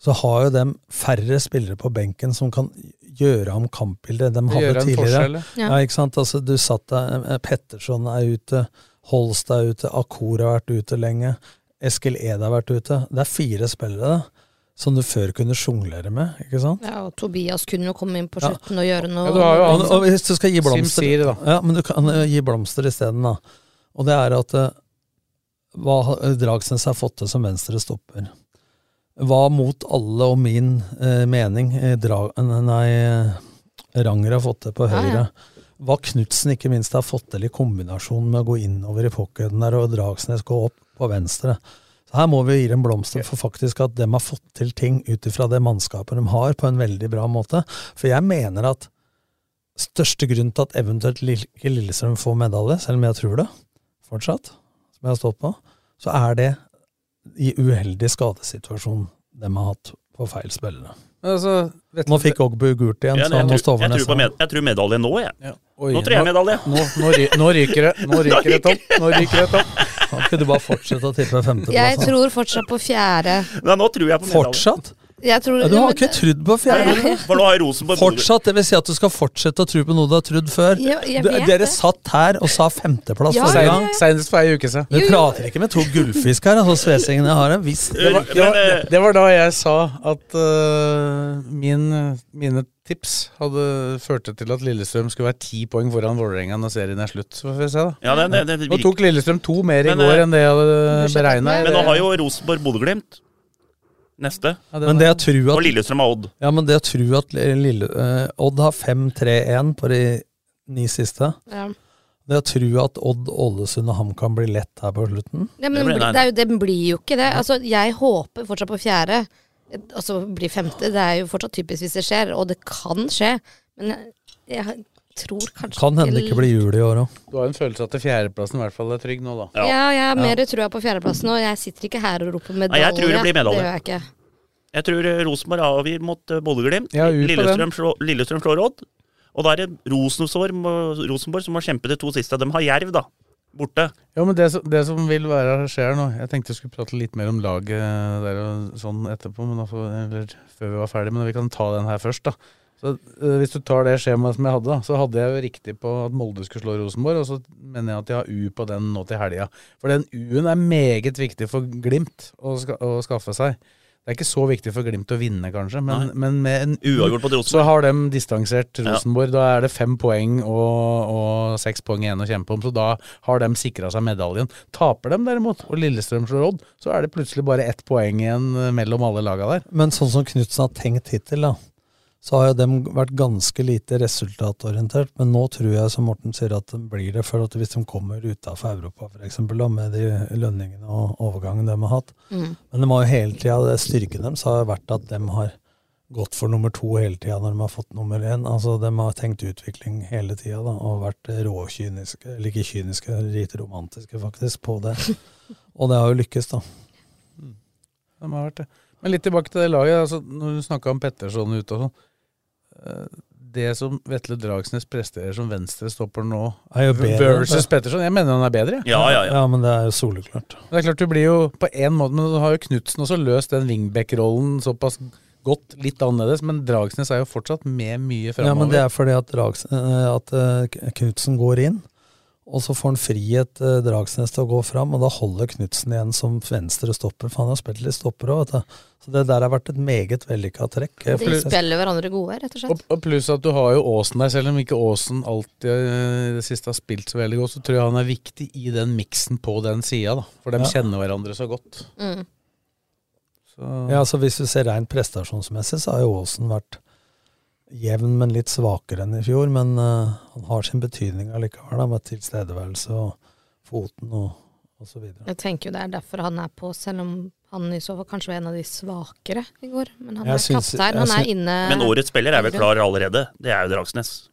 Speaker 5: så har jo dem færre spillere på benken som kan gjøre om kampbildet de
Speaker 4: å gjøre
Speaker 5: hadde
Speaker 4: en
Speaker 5: tidligere.
Speaker 4: forskjell.
Speaker 2: Ja.
Speaker 5: Ja. ikke sant? Altså, du satt der, eh, Petterson er ute, Holst er ute, Akor har vært ute lenge, Eskil Ed har vært ute. Det er fire spillere da, som du før kunne sjonglere med, ikke sant?
Speaker 2: Ja, og Tobias kunne jo komme inn på
Speaker 5: Ja.
Speaker 2: slutten og gjøre noe.
Speaker 4: Ja, du har jo
Speaker 5: Og,
Speaker 4: Ikke sant?
Speaker 5: og hvis du skal gi blomster
Speaker 4: Simsiri, da.
Speaker 5: Ja, men du kan eh, gi blomster isteden, da. Og det er at eh, hva har- Dragsnes har fått til som venstre stopper. Hva mot alle og min eh, mening eh, dra, Nei, eh, Ranger har fått til på
Speaker 2: Ja, ja.
Speaker 5: høyre. Hva Knutsen ikke minst har fått til i kombinasjon med å gå innover i pocketen der og Dragsnes gå opp på venstre. Så Her må vi gi dem blomster for faktisk at dem har fått til ting ut ifra det mannskapet de har, på en veldig bra måte. For jeg mener at største grunn til at eventuelt Lill- ikke Lillestrøm får medalje, selv om jeg tror det fortsatt, som jeg har stått på, så er det i uheldig skadesituasjon de har hatt på feil spillere.
Speaker 4: Men altså, vet
Speaker 5: Nå fikk Ogbu gult igjen,
Speaker 3: Ja,
Speaker 5: så
Speaker 3: nei,
Speaker 5: han må
Speaker 3: jeg,
Speaker 5: stå
Speaker 3: tror,
Speaker 5: over
Speaker 3: jeg, tror på
Speaker 5: neste.
Speaker 3: med, jeg tror medalje nå, jeg.
Speaker 4: ja. Oi,
Speaker 3: Nå tror jeg medalje.
Speaker 4: Nå, nå, ry, nå ryker det. Nå ryker det, Tom. Nå ryker det, Tom.
Speaker 5: Han kunne bare fortsette å tippe
Speaker 2: Jeg
Speaker 5: femteplass.
Speaker 2: tror fortsatt på fjerde.
Speaker 3: Nei, nå tror jeg på
Speaker 5: han.
Speaker 3: medalje.
Speaker 5: Fortsatt?
Speaker 2: Jeg tror,
Speaker 5: Ja, du
Speaker 2: Ja,
Speaker 5: har
Speaker 2: men-
Speaker 5: ikke trodd på
Speaker 3: Nei,
Speaker 5: fjerde?
Speaker 3: men- For nå har Rosenborg
Speaker 5: Fortsatt, det vil si at du skal fortsette å tro på noe du har trodd før.
Speaker 2: Ja, jeg
Speaker 5: Du-
Speaker 2: vet
Speaker 5: Dere
Speaker 2: det.
Speaker 5: satt her og sa femteplass
Speaker 2: Ja,
Speaker 5: forrige
Speaker 2: ja,
Speaker 5: gang.
Speaker 2: ja.
Speaker 4: Seinest for ei uke siden.
Speaker 5: Du prater ikke med to gullfisk her, altså svesingen jeg har en viss
Speaker 3: Eh,
Speaker 4: Det var, det,
Speaker 3: men, eh,
Speaker 4: var, det var da jeg sa at eh, min, mine tips hadde førte til at Lillestrøm skulle være ti poeng foran Vålerenga når serien er slutt. Så får vi se, da.
Speaker 3: Ja, det, det, det
Speaker 4: Nå
Speaker 3: virker.
Speaker 4: tok Lillestrøm to mer i
Speaker 3: Men,
Speaker 4: går
Speaker 3: eh,
Speaker 4: enn det jeg hadde beregna.
Speaker 3: Men nå har jo Rosenborg Bodø-Glimt neste.
Speaker 5: Men det å tro
Speaker 3: Og
Speaker 5: at,
Speaker 3: Lillestrøm har Odd.
Speaker 5: ja, men det å tro at Lille, eh, Odd har 5-3-1 på de ni siste
Speaker 2: Ja.
Speaker 5: Det å tro at Odd, Ålesund og HamKam blir lett her på slutten
Speaker 2: Nei, men
Speaker 3: Det
Speaker 2: det,
Speaker 3: blir- nei,
Speaker 2: er jo, det blir jo ikke det. Altså, jeg håper fortsatt på fjerde, og så blir femte. Det er jo fortsatt typisk hvis det skjer, og det kan skje. Men jeg, jeg tror kanskje
Speaker 5: Kan hende det ikke blir jul i år òg.
Speaker 4: Du har en følelse av at fjerdeplassen i hvert fall er trygg nå, da.
Speaker 3: Ja.
Speaker 2: Ja, jeg har mer trua på fjerdeplassen, og jeg sitter ikke her og roper medalje.
Speaker 3: jeg tror det blir medalje.
Speaker 2: gjør jeg ikke.
Speaker 3: Jeg tror eh, Rosenborg avgir mot eh, Bodø-Glimt.
Speaker 4: Ja, ut på den.
Speaker 3: Lillestrøm, slå- Lillestrøm slår Odd. Og da er det Rosenborg, må- Rosenborg som må kjempe de to siste. De har Jerv, da. Borte.
Speaker 4: Ja, men det, som- det som vil være skjer nå Jeg tenkte jeg skulle prate litt mer om laget der og sånn etterpå, men da får, eller før vi var ferdig, men vi kan ta den her først, da. Så, eh, hvis du tar det skjemaet som jeg hadde, da, så hadde jeg jo riktig på at Molde skulle slå Rosenborg, og så mener jeg at jeg har U på den nå til helga. For den U-en er meget viktig for Glimt å, ska å skaffe seg. Det er ikke så viktig for Glimt å vinne, kanskje, men, men med en U
Speaker 3: Uavgjort mot
Speaker 4: så
Speaker 3: Rosenborg.
Speaker 4: har de distansert Rosenborg. Da er det fem poeng og, og seks poeng igjen å kjempe om, så da har de sikra seg medaljen. Taper de derimot, og Lillestrøm slår Odd, så er det plutselig bare ett poeng igjen eh, mellom alle laga der.
Speaker 5: Men sånn som Knutsen har tenkt hittil, da, så har jo dem vært ganske lite resultatorientert. Men nå tror jeg, som Morten sier, at de blir det. For at hvis de kommer utafor Europa, f.eks., med de lønningene og overgangen de har hatt Men de har jo hele tida, styrken deres har vært at de har gått for nummer to hele tida når de har fått nummer én. Altså, de har tenkt utvikling hele tida og vært råkyniske, eller ikke kyniske, lite romantiske faktisk, på det. Og det har jo lykkes, da.
Speaker 4: De har vært det. Men litt tilbake til det laget. Altså, når du snakka om Petterson ute og sånn. eh, Det som Vetle Dragsnes presterer som venstrestopper nå,
Speaker 5: Er jo bedre, altså.
Speaker 4: versus
Speaker 5: da.
Speaker 4: Petterson Jeg mener han er bedre. jeg.
Speaker 3: Ja, ja, ja.
Speaker 5: men det er jo soleklart.
Speaker 4: Men Det er klart du blir jo på en måte Men du har jo Knutsen også løst den wingback-rollen såpass godt, litt annerledes. Men Dragsnes er jo fortsatt med mye framover.
Speaker 5: Ja, men det er fordi at, Drags, eh, at Knutsen går inn, og så får han frihet eh, Dragsnes til å gå fram, og da holder Knutsen igjen som venstre stopper, for han har spilt litt stopper òg, vet du. Så det der har vært et meget vellykka trekk. eh,
Speaker 4: Ja, for
Speaker 2: De
Speaker 4: det-
Speaker 2: spiller hverandre gode, rett og
Speaker 4: Og,
Speaker 2: slett.
Speaker 4: og pluss at du har jo Aasen der, selv om ikke Aasen alltid eh, i det siste har spilt så veldig godt, så tror jeg han er viktig i den miksen på den sida, da. For de
Speaker 5: Ja.
Speaker 4: kjenner hverandre så godt.
Speaker 2: Mm.
Speaker 4: Så
Speaker 5: Ja, altså Hvis du ser rent prestasjonsmessig, så har jo Aasen vært jevn, men litt svakere enn i fjor. Men eh, han har sin betydning allikevel, da, med tilstedeværelse og foten og, og så videre.
Speaker 2: Jeg tenker jo det er derfor han er på, selv om han i så fall kanskje var en av de svakere i går. Men han
Speaker 5: Jeg
Speaker 2: er
Speaker 5: syns-
Speaker 2: kaptein,
Speaker 5: jeg
Speaker 2: han er
Speaker 5: syns-
Speaker 2: inne
Speaker 3: Men årets spiller er vel klar allerede. Det er jo Dragsnes.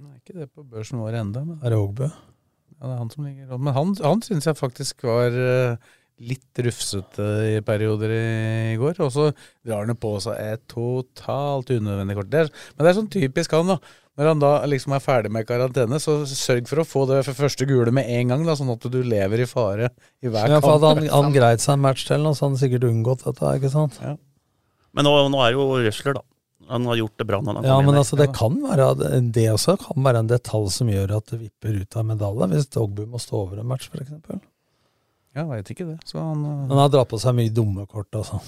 Speaker 5: Mm.
Speaker 4: det er ikke det på børsen vår ennå, men
Speaker 5: Er det Ågbø?
Speaker 4: ja, det er han som ligger rundt. Men han, han syns jeg faktisk var eh, litt rufsete i perioder i går. Og så drar han jo på seg et totalt unødvendig kort. Det er, men det er sånn typisk han, da. Når han da liksom er ferdig med karantene, så sørg for å få det første gule med en gang, da, sånn at du lever i fare i hver
Speaker 5: Ja, for
Speaker 4: kamp.
Speaker 5: hadde han, han greid seg en match til, nå, så hadde han sikkert unngått dette. ikke sant?
Speaker 3: Men nå, nå er jo Røsler, da. Han har gjort det bra når han
Speaker 5: Ja,
Speaker 3: kom
Speaker 5: men
Speaker 3: inn.
Speaker 5: altså, Det kan være, det også kan være en detalj som gjør at det vipper ut av medalje, hvis Dogbu må stå over en match, f.eks.
Speaker 4: Ja, veit ikke det. Så han, eh,
Speaker 5: Han har dratt på seg mye dumme kort, altså.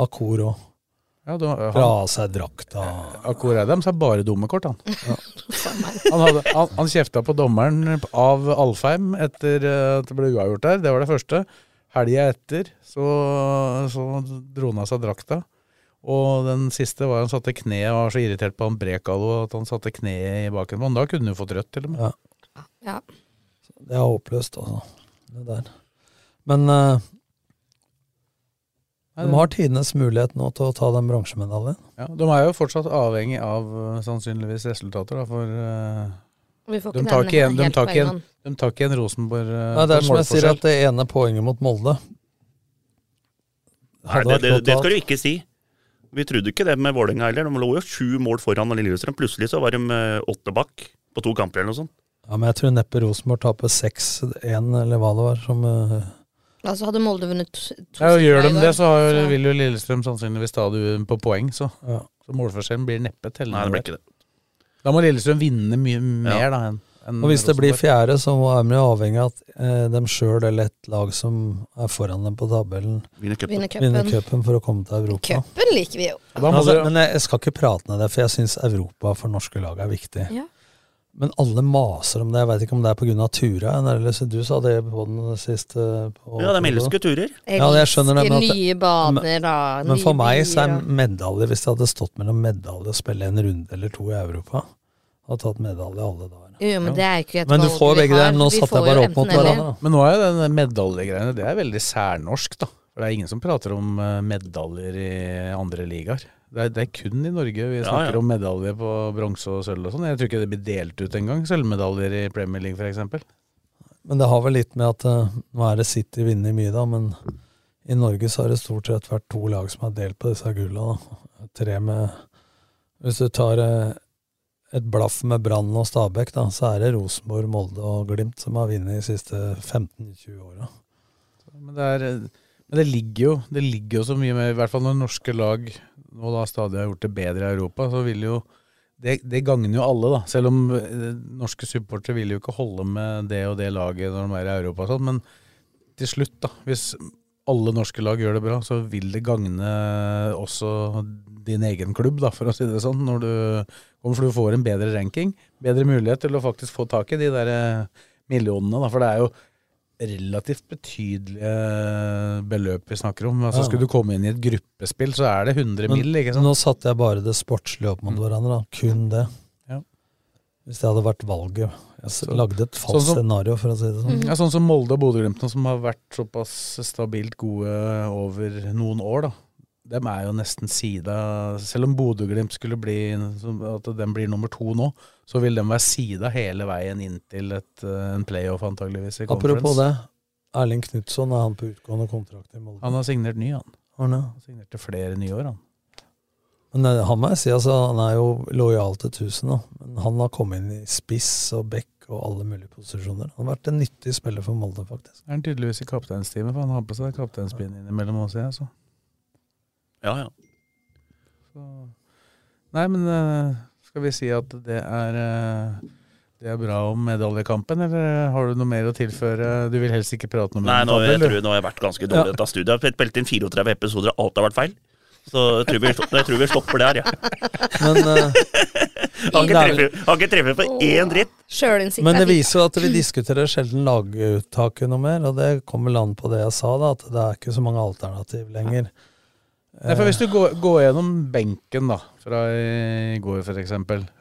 Speaker 5: Akor òg.
Speaker 4: ja, du,
Speaker 5: Fra
Speaker 4: han
Speaker 5: av seg drakta.
Speaker 4: Akor Eidem sa bare dumme kort, han.
Speaker 2: Faen meg.
Speaker 4: Han, hadde, han, han kjefta på dommeren av Alfheim etter eh, at det ble uavgjort der. Det var det første. Helga etter så, så dro han av seg drakta. Og den siste var han satte kneet og var så irritert på han Brekalo at han satte kneet i baken på han. Da kunne du fått rødt, til og med.
Speaker 2: Ja.
Speaker 5: Det er håpløst, altså. Det der. Men eh, de har tidenes mulighet nå til å ta den bronsemedaljen.
Speaker 4: Ja, de er jo fortsatt avhengig av eh, sannsynligvis resultater, da, for eh,
Speaker 2: Vi får
Speaker 4: De
Speaker 2: ikke
Speaker 4: tar
Speaker 2: nevne
Speaker 4: ikke igjen- de
Speaker 2: helt
Speaker 4: tar
Speaker 2: på
Speaker 4: ikke
Speaker 2: en
Speaker 4: igjen-
Speaker 2: gang.
Speaker 4: de tar ikke en Rosenborg eh,
Speaker 5: Nei,
Speaker 4: på
Speaker 5: det er som jeg sier,
Speaker 4: målforskjell.
Speaker 5: at det ene poenget mot Molde
Speaker 3: Nei, det,
Speaker 5: hadde
Speaker 3: det,
Speaker 5: vært godt
Speaker 3: det
Speaker 5: å ha.
Speaker 3: skal du ikke si. Vi trodde ikke det med Vålerenga heller. De lå jo sju mål foran Lillestrøm. Plutselig så var de eh, åtte bak på to kamper eller noe sånt.
Speaker 5: Ja, men jeg tror neppe Rosenborg taper 6-1, eller hva det var, som eh,
Speaker 2: Altså hadde Molde vunnet to
Speaker 4: Ja, og gjør de
Speaker 2: i går,
Speaker 4: det, så har, vil jo Lillestrøm sannsynligvis ta det på poeng, så,
Speaker 5: Ja.
Speaker 4: så målforskjellen blir neppe tellende.
Speaker 3: Nei, det ble ikke det.
Speaker 4: Da må Lillestrøm vinne mye mer, da. Enn, enn
Speaker 3: Mm,
Speaker 5: Og hvis det blir
Speaker 4: Rosenborg.
Speaker 5: fjerde, så er de jo avhengig av at eh, de sjøl eller et lag som er foran dem på tabellen,
Speaker 3: Vinner cupen.
Speaker 2: Vinner
Speaker 5: vinner
Speaker 2: cupen.
Speaker 5: cupen for å komme til Europa.
Speaker 2: Cupen liker vi jo.
Speaker 4: Og da må
Speaker 5: Altså,
Speaker 4: du-
Speaker 5: men jeg, jeg skal ikke prate ned det, for jeg syns Europa for norske lag er viktig.
Speaker 2: Ja.
Speaker 5: Men alle maser om det. Jeg veit ikke om det er pga. Tura. Eller, så du sa det på den siste på,
Speaker 3: Ja, de elsker turer.
Speaker 5: Ja, det skjønner jeg, men at-
Speaker 2: Elsker nye baner, da.
Speaker 5: Men
Speaker 2: nye
Speaker 5: for meg så er
Speaker 2: byer, da.
Speaker 5: medalje Hvis det hadde stått mellom medalje og spille en runde eller to i Europa, hadde tatt medalje alle dager.
Speaker 2: Jo, men det er ikke et
Speaker 5: Men du
Speaker 2: valg
Speaker 5: får
Speaker 2: vi
Speaker 5: begge
Speaker 2: har.
Speaker 5: der. Nå
Speaker 2: Vi
Speaker 5: satte
Speaker 2: får
Speaker 5: jeg bare
Speaker 2: jo
Speaker 5: opp mot
Speaker 2: enten eller.
Speaker 5: hverandre. da.
Speaker 4: Men nå er jo den medaljegreiene Det er veldig særnorsk, da. For det er ingen som prater om eh, medaljer i andre ligaer. Det er, det er kun i Norge vi snakker
Speaker 3: ja.
Speaker 4: om medaljer på bronse og sølv og sånn. Jeg tror ikke det blir delt ut engang, sølvmedaljer i Premier League f.eks.
Speaker 5: Men det har vel litt med at eh, nå er det City vinner mye, da, men i Norge så har det stort sett vært to lag som har delt på disse gulla. da. Tre med Hvis du tar eh, et blaff med Brann og Stabæk, da, så er det Rosenborg, Molde og Glimt som har vunnet de siste 15-20 åra.
Speaker 4: Men det, er, eh, men det ligger jo Det ligger jo så mye med I hvert fall når norske lag nå da stadig har gjort det bedre i Europa, så vil jo det, det gagner jo alle, da. Selv om eh, norske supportere vil jo ikke holde med det og det laget når de er i Europa og sånn, men til slutt, da. Hvis alle norske lag gjør det bra, så vil det gagne også din egen klubb, da, for å si det sånn. Når du, for du får en bedre ranking, bedre mulighet til å faktisk få tak i de der eh, millionene, da. For det er jo relativt betydelige beløp vi snakker om. Altså,
Speaker 5: Ja.
Speaker 4: Skulle du komme inn i et gruppespill, så er det 100
Speaker 5: Men
Speaker 4: mill. Ikke sant? Mm.
Speaker 5: Nå satte jeg bare det sportslige opp mot hverandre, da. kun det.
Speaker 4: Ja.
Speaker 5: Hvis det hadde vært valget. Jeg s-
Speaker 4: Så-
Speaker 5: lagde et falskt
Speaker 4: sånn som-
Speaker 5: scenario, for å si det sånn.
Speaker 4: Ja, sånn som Molde og Bodø-Glimt, nå, som har vært såpass stabilt gode over noen år. da. dem er jo nesten sida Selv om Bodø-Glimt skulle bli som- At den blir nummer to nå, så vil den være sida hele veien inntil et, eh, en playoff, antageligvis i
Speaker 5: Apropos
Speaker 4: conference.
Speaker 5: det. Erling Knutson er han på utgående kontrakt i Molde.
Speaker 4: Han har signert ny, han.
Speaker 5: Har han det?
Speaker 4: han signerte flere nye år, han.
Speaker 5: Men eh, han må jeg si, altså, han er jo lojal til 1000 nå. Men han har kommet inn i spiss og bekk og alle mulige posisjoner. Han har vært en nyttig spiller for Molde, faktisk.
Speaker 4: Er han tydeligvis i kapteinsteamet, for han har på seg kapteinspinn innimellom også, jeg, så.
Speaker 3: Ja, ja.
Speaker 4: så. Nei, men eh, skal vi si at det er eh, det er bra om medaljekampen, eller har du noe mer å tilføre? Du vil helst ikke prate noe om
Speaker 3: Nei, nå,
Speaker 4: medaljekampen,
Speaker 3: jeg
Speaker 4: eller?
Speaker 3: tror, nå har jeg vært ganske dårlig i dette studiet. Jeg har spilt inn 34 episoder, og alt har vært feil. Så jeg tror vi, jeg tror vi stopper der, jeg.
Speaker 5: Men, eh,
Speaker 3: Jeg Har ikke treffet- har ikke treffet på én dritt.
Speaker 2: Sjølinnsikt
Speaker 5: men
Speaker 2: er
Speaker 5: det
Speaker 2: fint.
Speaker 5: viser jo at vi diskuterer sjelden laguttaket noe mer, og det kommer land på det jeg sa, da, at det er ikke så mange alternativ lenger.
Speaker 4: Nei, for Hvis du går, går gjennom benken da, fra i går f.eks.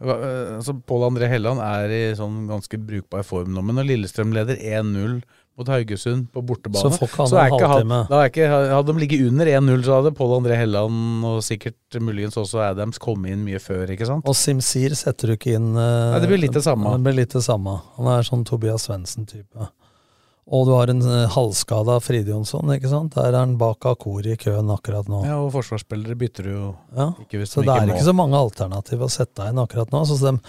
Speaker 4: Altså, Pål André Helland er i sånn ganske brukbar form nå, men når Lillestrøm leder 1-0 mot Haugesund på bortebane
Speaker 5: Så får ikke han
Speaker 4: er
Speaker 5: en
Speaker 4: ikke
Speaker 5: halvtime.
Speaker 4: Da er ikke, hadde de ligget under 1-0, så hadde Pål André Helland og sikkert muligens også Adams kommet inn mye før, ikke sant?
Speaker 5: Og Simsir setter du ikke inn eh,
Speaker 4: Nei, det blir litt det samme.
Speaker 5: Det blir litt det samme. Han er sånn Tobias Svendsen-type. Og du har en eh, halvskada Fride Jonsson, ikke sant? Der er han bak Akor i køen akkurat nå.
Speaker 4: Ja, og forsvarsspillere bytter jo
Speaker 5: Ja.
Speaker 4: ikke hvis
Speaker 5: Så
Speaker 4: de
Speaker 5: det
Speaker 4: ikke
Speaker 5: er
Speaker 4: må.
Speaker 5: ikke så mange alternativ å sette inn akkurat nå. Så det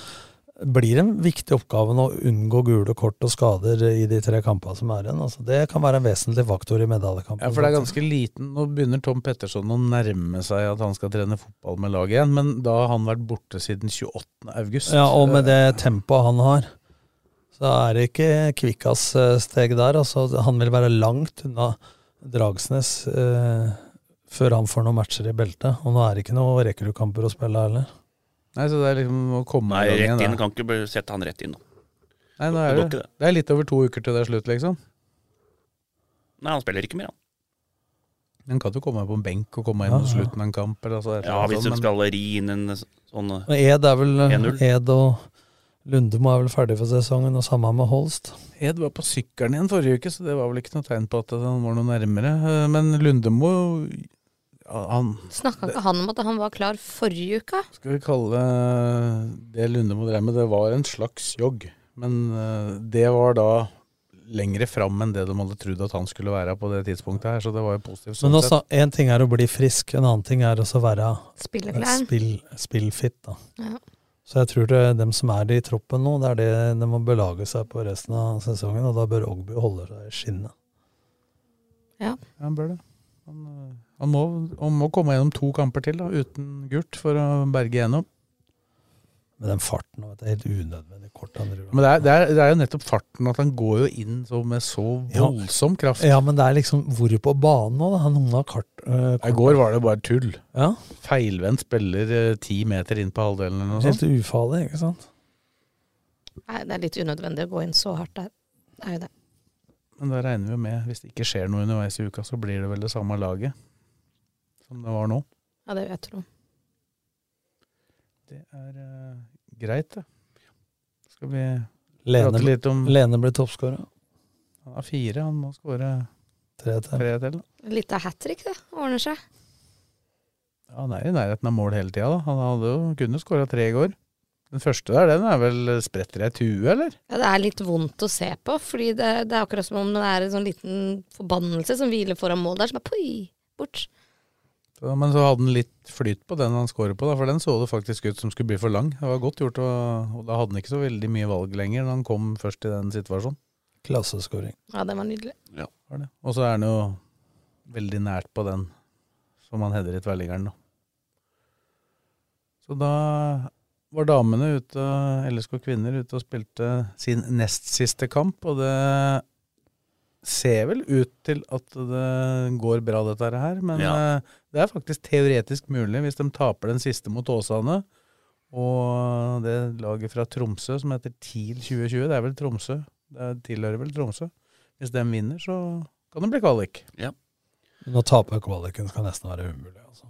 Speaker 5: blir en viktig oppgave nå å unngå gule kort og skader i de tre kampene som er igjen. Altså, det kan være en vesentlig faktor i medaljekampen.
Speaker 4: Ja, for det er ganske liten Nå begynner Tom Petterson å nærme seg at han skal trene fotball med laget igjen, men da har han vært borte siden 28. august.
Speaker 5: Ja, og med det tempoet han har, så er det ikke Kvikkas eh, steg der. Altså, han vil være langt unna Dragsnes eh, før han får noen matcher i beltet. Og nå er det ikke noen rekruttkamper å spille heller.
Speaker 4: Nei, så det er liksom å komme
Speaker 3: Nei,
Speaker 4: i gang
Speaker 3: rett
Speaker 4: igjen.
Speaker 3: inn.
Speaker 4: da.
Speaker 3: Kan ikke bare sette han rett inn, da.
Speaker 4: Nei, nå
Speaker 3: Det
Speaker 4: er
Speaker 3: går
Speaker 4: det,
Speaker 3: ikke, det.
Speaker 4: det er litt over to uker til det er slutt, liksom.
Speaker 3: Nei, han spiller ikke mer, han.
Speaker 4: Men kan du komme på en benk og komme inn mot slutten av en kamp? Eller, altså, et eller
Speaker 3: Ja,
Speaker 4: annet
Speaker 3: hvis
Speaker 4: sånt,
Speaker 3: du
Speaker 4: men-
Speaker 3: skal ri inn en sånn
Speaker 5: Men Ed er vel
Speaker 3: 1-0.
Speaker 5: Ed og Lundemo er vel ferdig for sesongen, og samme med Holst.
Speaker 4: Ed var på sykkelen igjen forrige uke, så det var vel ikke noe tegn på at han var noe nærmere. Eh, Men Lundemo ja, han,
Speaker 2: Snakka ikke han om at han var klar forrige uke?
Speaker 4: Skal vi kalle det Lundemo drev med, det var en slags jogg. Men eh, det var da lengre fram enn det de hadde trodd at han skulle være på det tidspunktet her, så det var jo positivt.
Speaker 5: Men
Speaker 4: sånn
Speaker 5: nå
Speaker 4: sett.
Speaker 5: sa- en ting er å bli frisk, en annen ting er også å være
Speaker 2: Spilleklar.
Speaker 5: spill, spillfit. Da.
Speaker 2: Ja.
Speaker 5: Så jeg tror det er dem som er det i troppen nå, det er det de må belage seg på resten av sesongen, og da bør Ogby holde seg i skinnet.
Speaker 4: Ja, han bør det. Han, øh, han, må, han må komme gjennom to kamper til da, uten gult for å berge gjennom.
Speaker 5: Med den farten og det er helt unødvendig kort han driver
Speaker 4: Men det er, det, er, det er jo nettopp farten at han går jo inn så med så
Speaker 5: Ja.
Speaker 4: voldsom kraft.
Speaker 5: Ja, men det er liksom hvor på banen nå, da? Han noen har kart... eh,
Speaker 4: I går var det jo bare tull.
Speaker 5: ja,
Speaker 4: Feilvendt spiller eh, ti meter inn på halvdelen eller noe sånt.
Speaker 5: helt ufarlig, ikke sant?
Speaker 2: Nei, det er litt unødvendig å gå inn så hardt der. Det er jo det.
Speaker 4: Men da regner vi jo med, hvis det ikke skjer noe underveis i uka, så blir det vel det samme laget som det var nå.
Speaker 2: Ja, det vil jeg tro.
Speaker 4: Det er eh, greit, det. Skal vi prate
Speaker 5: Lene,
Speaker 4: litt om
Speaker 5: Lene ble toppskåra.
Speaker 4: Han har fire, han må skåre
Speaker 5: Tre til.
Speaker 4: tre til. da.
Speaker 2: Litt av hat trick, det. Ordner seg.
Speaker 4: Ja, Han er i nærheten av mål hele tida. da. Han hadde jo kunne skåra tre i går. Den første der, den er vel spretter i et hue, eller?
Speaker 2: Ja, det er litt vondt å se på, fordi det, det er akkurat som om det er en sånn liten forbannelse som hviler foran mål der, som er poi, bort.
Speaker 4: Så, men så hadde han litt flyt på den han skårer på, da, for den så det faktisk ut som skulle bli for lang. Det var godt gjort, og, og da hadde han ikke så veldig mye valg lenger når han kom først i den situasjonen.
Speaker 5: Klasseskåring.
Speaker 2: Ja, den var nydelig.
Speaker 4: Var det. Og så er han jo veldig nært på den som han header i tverrliggeren nå. Så da var damene ute, LSK kvinner ute og spilte sin nest siste kamp, og det ser vel ut til at det går bra dette her, men
Speaker 3: Ja.
Speaker 4: eh, det er faktisk teoretisk mulig hvis de taper den siste mot Åsane. Og det laget fra Tromsø som heter TIL 2020, det er vel Tromsø? Det tilhører vel Tromsø? Hvis de vinner, så kan det bli kvalik.
Speaker 5: Nå taper kvaliken, skal nesten være umulig. Altså.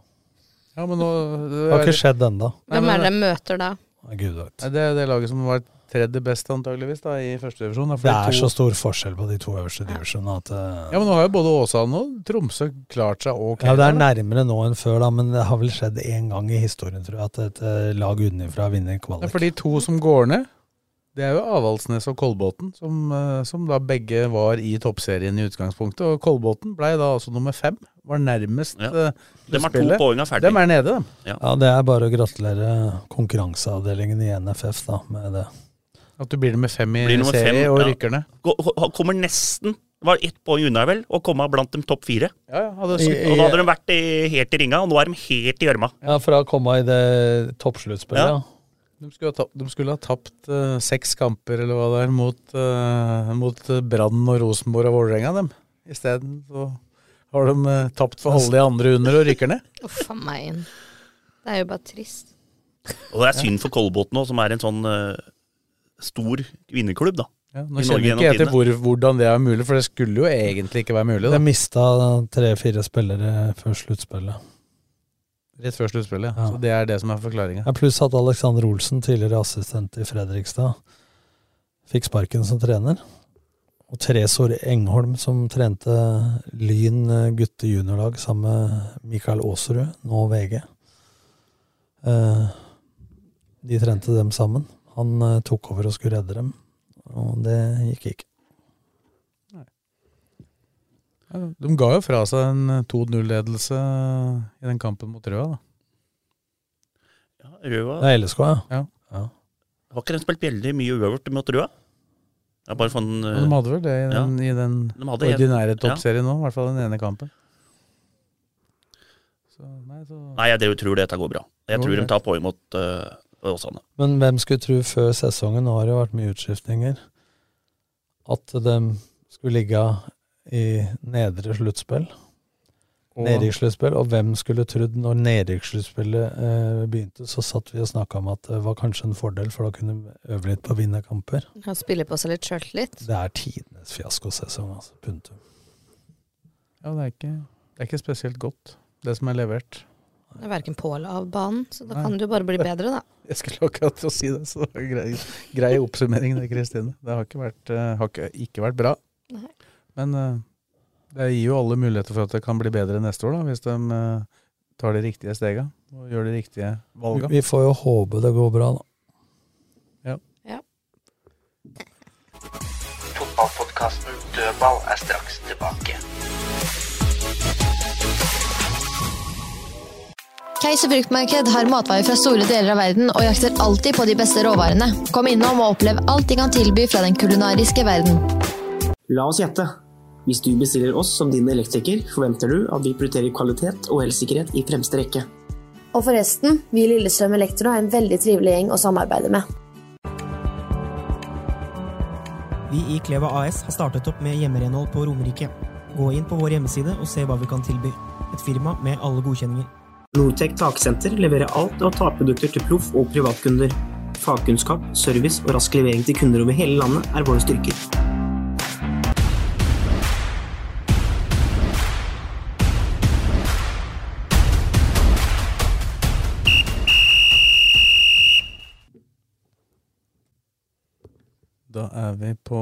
Speaker 4: Ja, men nå
Speaker 5: Det har ikke skjedd ennå.
Speaker 4: Nei,
Speaker 2: Hvem
Speaker 4: men-
Speaker 2: er det de møter da?
Speaker 5: Nei, Gud vet.
Speaker 4: Nei, Det er det laget som var tredje beste antageligvis da, i første divisjon. da, for
Speaker 5: Det
Speaker 4: de
Speaker 5: er
Speaker 4: to-
Speaker 5: så stor forskjell på de to øverste divisjonene at eh,
Speaker 4: Ja, men nå har jo både Åsane og Tromsø klart seg ok.
Speaker 5: ja, Det er
Speaker 4: da.
Speaker 5: nærmere nå enn før, da, men det har vel skjedd én gang i historien, tror jeg, at et eh, lag utenfra vinner
Speaker 4: Ja,
Speaker 5: kvalik.
Speaker 4: for de to som går ned, det er jo Avaldsnes og Kolbotn, som, eh, som da begge var i toppserien i utgangspunktet. Og Kolbotn ble da altså nummer fem, var nærmest
Speaker 3: Ja.
Speaker 4: ja.
Speaker 3: De har to poeng ferdig.
Speaker 4: Dem er nede, dem.
Speaker 5: Ja, Det er bare å gratulere konkurranseavdelingen i NFF da, med det.
Speaker 4: At du blir nummer fem i
Speaker 3: Blir nummer
Speaker 4: serie
Speaker 3: fem,
Speaker 4: og
Speaker 3: ja.
Speaker 4: rykker ned.
Speaker 3: Gå- ho- Kommer nesten Var ett poeng unna, vel, å komme blant de topp fire.
Speaker 4: Ja, ja, hadde
Speaker 5: I-
Speaker 3: Og da hadde de vært eh, helt i ringa, og nå er de helt i gjørma.
Speaker 5: Ja, For å komme i det toppsluttspillet,
Speaker 3: Ja.
Speaker 5: ja.
Speaker 4: De skulle ha tapt, de skulle ha tapt eh, seks kamper eller hva det er, mot, uh, mot eh, Brann og Rosenborg og Vålerenga, dem. Isteden så har de eh, tapt for alle de andre under og rykker ned.
Speaker 2: Uff a meg. Det er jo bare trist.
Speaker 3: Og det er synd for Kolbotn òg, som er en sånn eh, stor kvinneklubb, da.
Speaker 4: Ja, nå
Speaker 3: Norge
Speaker 4: kjenner jeg
Speaker 3: gjennom
Speaker 4: ikke jeg til
Speaker 3: tidene.
Speaker 4: hvor, hvordan det er mulig, for det skulle jo egentlig ikke være mulig.
Speaker 5: De
Speaker 4: Da.
Speaker 5: mista tre-fire spillere før sluttspillet.
Speaker 4: Rett før sluttspillet.
Speaker 5: Ja.
Speaker 4: Ja. Så det er det som er forklaringa.
Speaker 5: Ja, pluss at Alexander Olsen, tidligere assistent i Fredrikstad, fikk sparken som trener. Og Tresor Engholm, som trente Lyn eh, gutte juniorlag sammen med Mikael Aasrud, nå VG. Eh, De trente dem sammen. Han eh, tok over og skulle redde dem, og det gikk ikke.
Speaker 4: Ja, de ga jo fra seg en eh, 2-0-ledelse eh, i den kampen mot Røa, da.
Speaker 3: Ja, Røa
Speaker 5: Det er LSK, ja.
Speaker 3: Har ikke de spilt veldig mye uavgjort mot Røa? Det er bare sånn eh,
Speaker 4: Men de hadde vel det i den, i den
Speaker 3: de hadde en-
Speaker 4: ordinære
Speaker 3: ja.
Speaker 4: toppserien nå, i hvert fall den ene kampen. Så, nei, så...
Speaker 3: Nei, jeg tror- tror dette går bra. Jeg
Speaker 4: Jo,
Speaker 3: tror de
Speaker 4: greit.
Speaker 3: tar poeng mot eh, Åsane.
Speaker 5: Men hvem skulle tro før sesongen, nå har det jo vært mye utskiftninger, at de skulle ligge i nedre sluttspill,
Speaker 4: Og-
Speaker 5: nedrykksluttspill, og hvem skulle trodd når nedrykkssluttspillet eh, begynte, så satt vi og snakka om at det var kanskje en fordel, for da kunne de øve litt på å vinne kamper.
Speaker 2: Han spiller på seg litt sjøltillit.
Speaker 5: Det er tidenes fiaskosesong, altså. Punktum.
Speaker 4: Ja, det er, ikke, det er ikke spesielt godt, det som er levert.
Speaker 2: Det er verken på eller av banen, så da
Speaker 4: Nei.
Speaker 2: kan det jo bare bli bedre, da.
Speaker 4: Jeg skulle akkurat til å si det, så det var grei, grei oppsummering det, Kristine. Det har ikke vært, eh, har ikke, ikke vært bra.
Speaker 2: Nei.
Speaker 4: Men eh, det gir jo alle muligheter for at det kan bli bedre neste år, da, hvis de eh, tar de riktige stega og gjør de riktige valga.
Speaker 5: Vi får jo håpe det går bra, da.
Speaker 6: Fotballpodkasten Dødball er straks tilbake.
Speaker 7: Keiser fruktmarked har matvarer fra store deler av verden og jakter alltid på de beste råvarene. Kom innom og opplev alt de kan tilby fra den kulinariske verden.
Speaker 1: La oss gjette. Hvis du bestiller oss som din elektriker, forventer du at vi prioriterer kvalitet og helsesikkerhet i fremste rekke.
Speaker 8: Og forresten, vi i Lillestrøm Elektro er en veldig trivelig gjeng å samarbeide med.
Speaker 9: Vi i Kleva AS har startet opp med hjemmerenhold på Romerike. Gå inn på vår hjemmeside og se hva vi kan tilby. Et firma med alle godkjenninger.
Speaker 1: Nortec taksenter leverer alt av takprodukter til proff- og privatkunder. Fagkunnskap, service og rask levering til kunder over hele landet er våre styrker.
Speaker 4: Da er vi på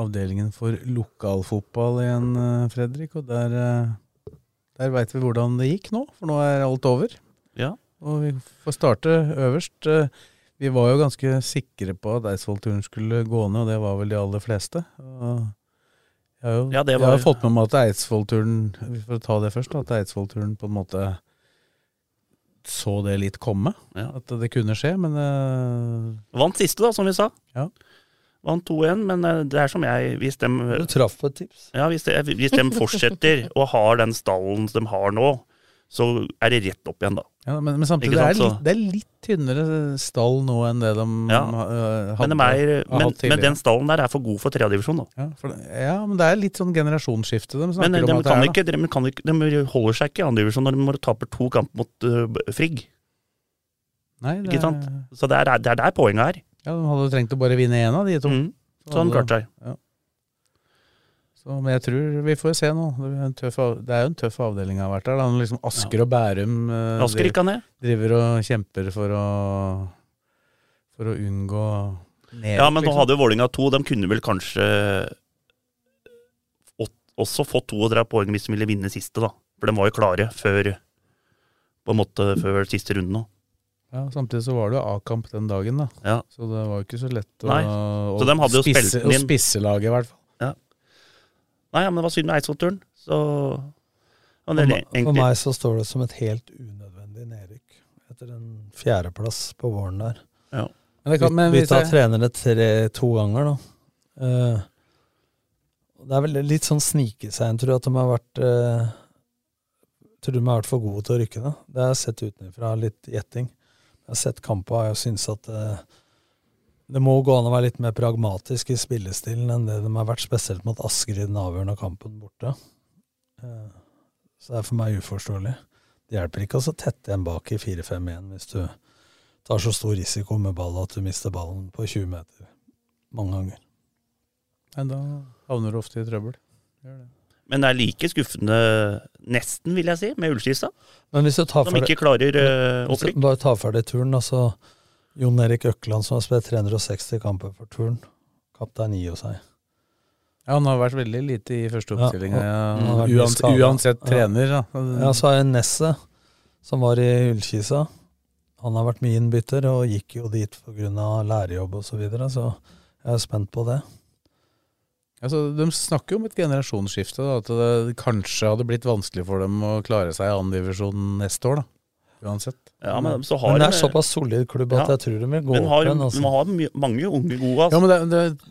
Speaker 4: avdelingen for lokalfotball igjen, eh, Fredrik, og der, eh, der veit vi hvordan det gikk nå, for nå er alt over.
Speaker 3: Ja.
Speaker 4: Og vi får starte øverst. Eh, Vi var jo ganske sikre på at Eidsvollturen skulle gå ned, og det var vel de aller fleste. Og Jeg har jo
Speaker 3: Ja, det
Speaker 4: jeg har
Speaker 3: var-
Speaker 4: jo fått med meg at Eidsvollturen For å ta det først, da, at Eidsvollturen på en måte så det litt komme.
Speaker 3: Ja.
Speaker 4: At det kunne skje, men eh,
Speaker 3: Vant siste, da, som vi sa.
Speaker 4: Ja.
Speaker 3: Vant 2-1, men eh, det er som jeg Hvis de,
Speaker 5: Du traff på et tips.
Speaker 3: ja, hvis de, hvis de fortsetter og har den stallen de har nå, så er det rett opp igjen, da.
Speaker 4: ja, men, men samtidig,
Speaker 3: Ikke
Speaker 4: det er,
Speaker 3: sant, så-
Speaker 4: litt, det er litt tynnere stall nå enn det de
Speaker 3: Ja.
Speaker 4: eh,
Speaker 3: Men, de er,
Speaker 4: hadde. har
Speaker 3: men,
Speaker 4: hatt
Speaker 3: men
Speaker 4: tidligere.
Speaker 3: den stallen der er for god for tredjedivisjon, da.
Speaker 4: ja, for, det- ja, men det er litt sånn generasjonsskifte de snakker
Speaker 3: Men de,
Speaker 4: om. at det
Speaker 3: kan
Speaker 4: er, da.
Speaker 3: ikke, de, kan ikke, de holder seg ikke i andredivisjon når de må tape to kamper mot eh, Frigg.
Speaker 4: Nei, det
Speaker 3: Ikke sant?
Speaker 4: er-
Speaker 3: Så det er, det er der poenget er.
Speaker 4: Ja, de hadde jo trengt å bare vinne én av de to.
Speaker 3: Mm. Så han klarte seg.
Speaker 4: Så, men jeg tror vi får se nå. Det er jo en tøff, av, det er jo en tøff avdeling jeg har vært der. Da. Liksom Asker og Bærum eh,
Speaker 3: Asker
Speaker 4: driver,
Speaker 3: rykka ned.
Speaker 4: driver og kjemper for å, for å unngå Ned,
Speaker 3: ja, men nå
Speaker 4: liksom.
Speaker 3: hadde jo Vålinga to. De kunne vel kanskje åt- også fått 32 poeng hvis de ville vinne siste, da. For de var jo klare før på en måte før siste runde nå.
Speaker 4: Ja, samtidig så var det jo A-kamp den dagen, da.
Speaker 3: Ja.
Speaker 4: Så det var jo ikke så lett å,
Speaker 3: Nei. Så dem hadde jo
Speaker 4: spisse,
Speaker 3: spilt den
Speaker 4: å
Speaker 3: inn.
Speaker 4: spisse laget, i hvert fall.
Speaker 3: Nei, ja, men det var synd med Eidsvoll-turen. Så ja,
Speaker 5: For
Speaker 3: det er
Speaker 5: meg,
Speaker 3: egentlig-
Speaker 5: for meg så står det som et helt unødvendig nedrykk etter en fjerdeplass på våren der.
Speaker 3: Ja.
Speaker 4: Men det kan- men
Speaker 5: Vi
Speaker 4: hvis
Speaker 5: tar
Speaker 4: jeg-
Speaker 5: trenere tre, to ganger, da. Eh, og det er vel litt sånn snike seg inn, tror jeg, at de har vært eh, Tror de har vært for gode til å rykke, da. Det har jeg sett utenfra, litt gjetting. Jeg har sett kampa, og jeg syns at eh, det må gå an å være litt mer pragmatisk i spillestilen enn det de har vært, spesielt mot Asker i den avgjørende kampen borte. Eh, Så det er for meg uforståelig. Det hjelper ikke å så tette en bak i 4-5-1 hvis du tar så stor risiko med ball at du mister ballen på 20 meter mange ganger.
Speaker 4: Nei, da havner du ofte i trøbbel.
Speaker 3: Men det er like skuffende, nesten, vil jeg si, med Ullskisa.
Speaker 5: Men hvis du tar
Speaker 3: Som ikke klarer eh,
Speaker 5: Hvis du
Speaker 3: opprykk.
Speaker 5: Bare tar ferdig turen, altså. Jon Erik Økland som har spilt 360 kamper for turen. Kaptein i og seg.
Speaker 4: Ja, han har vært veldig lite i første
Speaker 5: Ja, Mm.
Speaker 4: oppstillinga.
Speaker 5: og-
Speaker 4: Ja,
Speaker 5: han har vært
Speaker 4: uansett,
Speaker 5: skadet.
Speaker 4: uansett trener, da.
Speaker 3: Mm.
Speaker 5: Ja, ja så er det Nesset, som var i Ullkisa. Han har vært mye innbytter og gikk jo dit pga. lærejobb osv., så, videre, så jeg er spent på det.
Speaker 4: Altså, de snakker jo om et generasjonsskifte, da, at det kanskje hadde blitt vanskelig for dem å klare seg i andredivisjon neste år. da, Uansett.
Speaker 3: Ja, men så har
Speaker 5: Men det
Speaker 3: de-
Speaker 5: er såpass solid klubb at jeg tror de vil gå
Speaker 3: Men har,
Speaker 5: opp igjen. Altså.
Speaker 3: De har mye- mange unge gode. Altså.
Speaker 4: Ja, men det, det,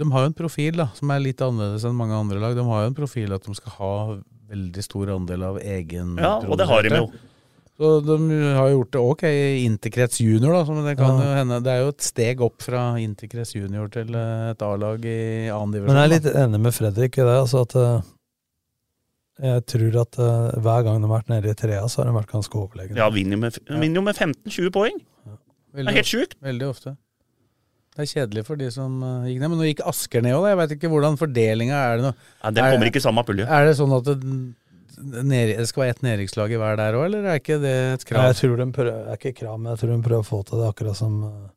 Speaker 4: De har jo en profil da, som er litt annerledes enn mange andre lag. De har jo en profil at de skal ha veldig stor andel av egen
Speaker 3: Ja, og det har de jo.
Speaker 4: Så de har gjort det ok i Interkrets junior, da, så men det kan
Speaker 5: Ja.
Speaker 4: jo hende. Det er jo et steg opp fra Interkrets junior til eh, et A-lag i annen divisjon.
Speaker 5: Men jeg er litt
Speaker 4: da.
Speaker 5: enig med Fredrik i det. Altså at eh, jeg tror at eh, hver gang de har vært nede i trea, så har de vært ganske overlegne.
Speaker 3: Ja, vinner jo med, vinner jo med 15-20 poeng. Det er helt sjukt.
Speaker 4: Veldig ofte. Det er kjedelig for de som eh, gikk ned. Men nå gikk Asker ned òg, da. Jeg veit ikke hvordan fordelinga er det nå.
Speaker 3: Ja, den
Speaker 4: Er-
Speaker 3: kommer ikke i samme pulje.
Speaker 4: Er det sånn at det, ned, det skal være ett nedrykkslag i hver der òg, eller er ikke det et krav?
Speaker 5: Nei, jeg tror de prøver, det er ikke krav, men jeg tror de prøver å få til det akkurat som eh,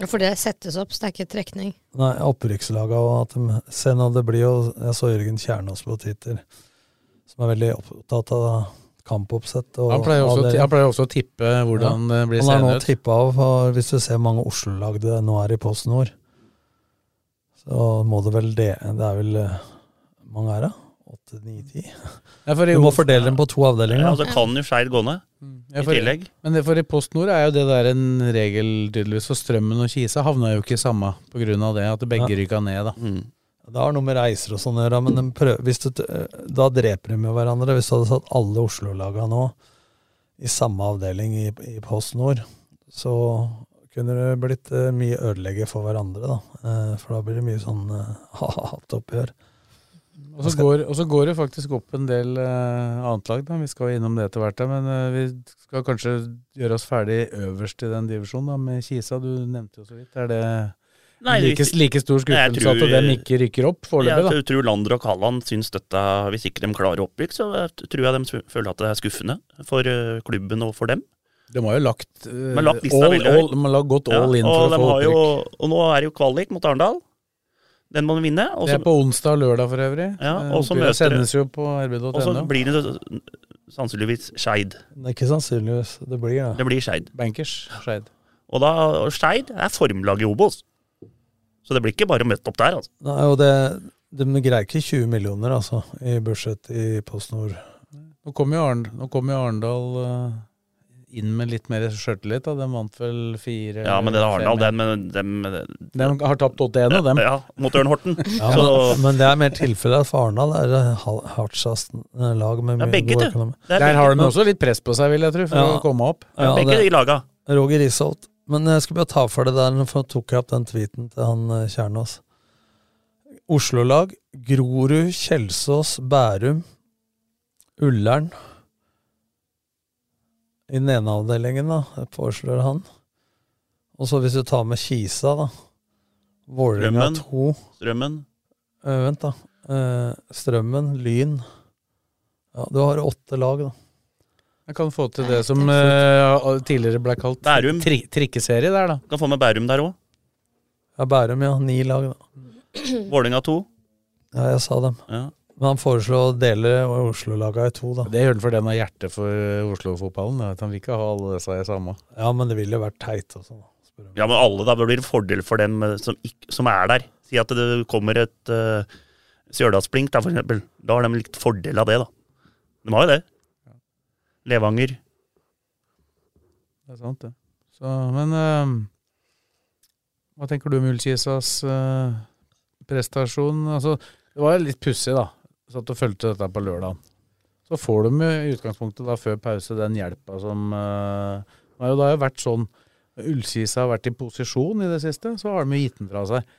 Speaker 2: Ja, For det settes opp, så det er ikke trekning.
Speaker 5: nei, opprykkslaga. Og at de, se nå, det blir jo Jeg så Jørgen Kjernås på Twitter, som er veldig opptatt av kampoppsett. Og,
Speaker 4: Han pleier, også,
Speaker 5: og
Speaker 4: å
Speaker 5: det-
Speaker 4: ti- han pleier også å tippe hvordan det blir
Speaker 5: Han har
Speaker 4: seende
Speaker 5: nå
Speaker 4: ut.
Speaker 5: tippa av, for hvis du ser hvor mange Oslo-lag det nå er i Post Nord, så må det vel det Det er vel eh, mange er det? Åtte, ni, ti?
Speaker 4: Ja, for i
Speaker 5: Du må
Speaker 4: Os-
Speaker 5: fordele dem på to avdelinger.
Speaker 3: Ja,
Speaker 5: da.
Speaker 3: altså kan jo Skeid gå ned. I
Speaker 4: Ja, for-
Speaker 3: tillegg.
Speaker 4: Men det, for i Post Nord er jo det der en regel, tydeligvis. For Strømmen og Kisa havna jo ikke i samme pga. det, at begge
Speaker 5: Ja.
Speaker 4: rykka ned, da.
Speaker 5: Det har noe med reiser og sånn å gjøre, men de prøver, hvis du, t- eh, da dreper de jo hverandre. Hvis du hadde satt alle Oslo-laga nå i samme avdeling i, i Post Nord, så kunne det blitt eh, mye ødelegge for hverandre, da. Eh, For da blir det mye sånn eh, hatoppgjør.
Speaker 4: Og så går, og så går det faktisk opp en del eh, annet lag, da. Vi skal jo innom det etter hvert, da. men eh, vi skal kanskje gjøre oss ferdig øverst i den divisjonen, da, med Kisa. Du nevnte jo så vidt. Er det
Speaker 3: Nei,
Speaker 4: like,
Speaker 3: hvis-
Speaker 4: like stor
Speaker 3: Nei, jeg
Speaker 4: skuffelse at
Speaker 3: tror-
Speaker 4: dem ikke rykker opp foreløpig, da?
Speaker 3: Jeg tror Lander og Kalland syns dette Hvis ikke de klarer opprykk, så tror jeg de s- føler at det er skuffende for eh, klubben og for dem.
Speaker 4: De har jo lagt, eh,
Speaker 3: Men lagt lista
Speaker 4: all-
Speaker 3: veldig høyt.
Speaker 4: all- de har gått all in for
Speaker 3: og
Speaker 4: å
Speaker 3: de
Speaker 4: få
Speaker 3: har jo, Og nå er det jo kvalik mot Arendal. Den må de vinne. og
Speaker 4: Det
Speaker 3: så-
Speaker 4: er på onsdag og lørdag for øvrig.
Speaker 3: Ja,
Speaker 4: Eh,
Speaker 3: og så
Speaker 4: oppgjøret
Speaker 3: møter
Speaker 4: sendes jo på rb.no.
Speaker 3: Og så blir det så- sannsynligvis Skeid.
Speaker 5: Det er ikke sannsynligvis det blir det.
Speaker 3: Det blir Skeid.
Speaker 4: Bankers Skeid.
Speaker 3: Og da, og Skeid er formlaget i Obos. Så det blir ikke bare møtt opp der, altså.
Speaker 5: Nei, og det, de greier ikke 20 millioner, altså, i budsjett i Post Nord.
Speaker 4: Nå kom jo, Arn, nå kom jo Arendal eh, inn med litt mer sjøltillit. da. De vant vel fire
Speaker 3: Ja, men det er Arendal,
Speaker 4: fem-
Speaker 3: den, men dem eh,
Speaker 4: De har tapt 8-1 av dem.
Speaker 3: Ja, mot Ørn Horten.
Speaker 5: Ja, men,
Speaker 3: så
Speaker 5: men det er mer tilfellet, for Arendal er det ha- hardest eh, lag med
Speaker 3: Ja,
Speaker 5: mye
Speaker 3: begge,
Speaker 5: god
Speaker 3: du.
Speaker 5: økonomi.
Speaker 3: Det er
Speaker 4: Der har
Speaker 3: begge.
Speaker 4: de også litt press på seg, vil jeg tro, for
Speaker 5: Ja.
Speaker 4: å komme opp.
Speaker 5: Ja,
Speaker 3: begge de
Speaker 5: det-
Speaker 3: laga.
Speaker 5: Roger Risholt. Men jeg skal bare ta for det der, for nå tok jeg opp den tweeten til han eh, Kjernås. Oslo-lag, Grorud, Kjelsås, Bærum, Ullern. I den ene avdelingen, da, foreslår han. Og så hvis du tar med Kisa, da. Vålerenga
Speaker 3: Strømmen.
Speaker 5: 2.
Speaker 3: Strømmen.
Speaker 5: Eh, vent, da. Eh, strømmen, Lyn. Ja, du har åtte lag, da.
Speaker 4: Jeg kan få til det som eh, tidligere ble kalt
Speaker 3: Bærum.
Speaker 4: tri trikkeserie der, da.
Speaker 3: Kan få med Bærum der òg.
Speaker 5: Ja, Bærum, ja. Ni lag, da.
Speaker 3: Vålerenga to.
Speaker 5: Ja, jeg sa dem. Men han foreslo å dele Oslo-laga i to, da.
Speaker 4: Det gjør han fordi han har hjerte for eh, Oslo-fotballen. da, at Han vil ikke ha alle disse i samme.
Speaker 5: Ja, men det ville jo vært teit. og sånn.
Speaker 3: Ja, men alle da blir det fordel for dem eh, som, ikk- som er der. Si at det kommer et uh, Stjørdalsblink, da, for eksempel. Da har de litt fordel av det, da. De har jo det. Levanger.
Speaker 4: Det er sant, det. Så, men eh, hva tenker du om Ullkisas eh, prestasjon? Altså, det var litt pussig, da. Satt og fulgte dette på lørdag. Så får de jo i utgangspunktet da før pause den hjelpa som eh, Det har jo da vært sånn Ullkisa har vært i posisjon i det siste, så har de jo gitt den fra seg.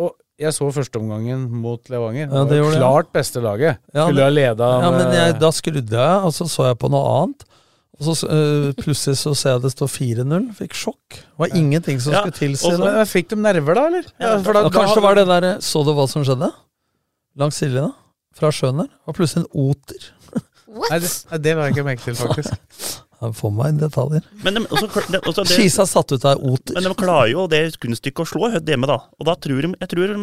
Speaker 4: Og jeg så førsteomgangen mot Levanger. det
Speaker 5: Ja, det
Speaker 4: var jo
Speaker 5: gjorde jeg.
Speaker 4: klart beste laget.
Speaker 5: Ja,
Speaker 4: Skulle
Speaker 5: det-
Speaker 4: ha eh, leda
Speaker 5: Ja, men
Speaker 4: med-
Speaker 5: jeg, da skrudde jeg, og så så jeg på noe annet. Og så eh, plutselig så ser jeg det står 4-0. Fikk sjokk. Det var ingenting som
Speaker 4: Ja,
Speaker 5: skulle tilsi
Speaker 4: og så-
Speaker 5: det.
Speaker 4: Men Fikk de nerver, da, eller? Ja, for da-
Speaker 5: Og
Speaker 4: da
Speaker 5: kanskje
Speaker 4: hadde-
Speaker 5: det var det derre Så du hva som skjedde? Langs sidelinja? Fra sjøen der? Det var plutselig en oter.
Speaker 4: Nei, det, nei, det var jeg ikke merke til, faktisk.
Speaker 5: Han får meg inn detaljer.
Speaker 3: Men de, også, kl- de, også det,
Speaker 5: Kisa satt ut av oter.
Speaker 3: men de klarer jo det kunststykket å slå Hødd hjemme, da. Og da tror de Jeg tror de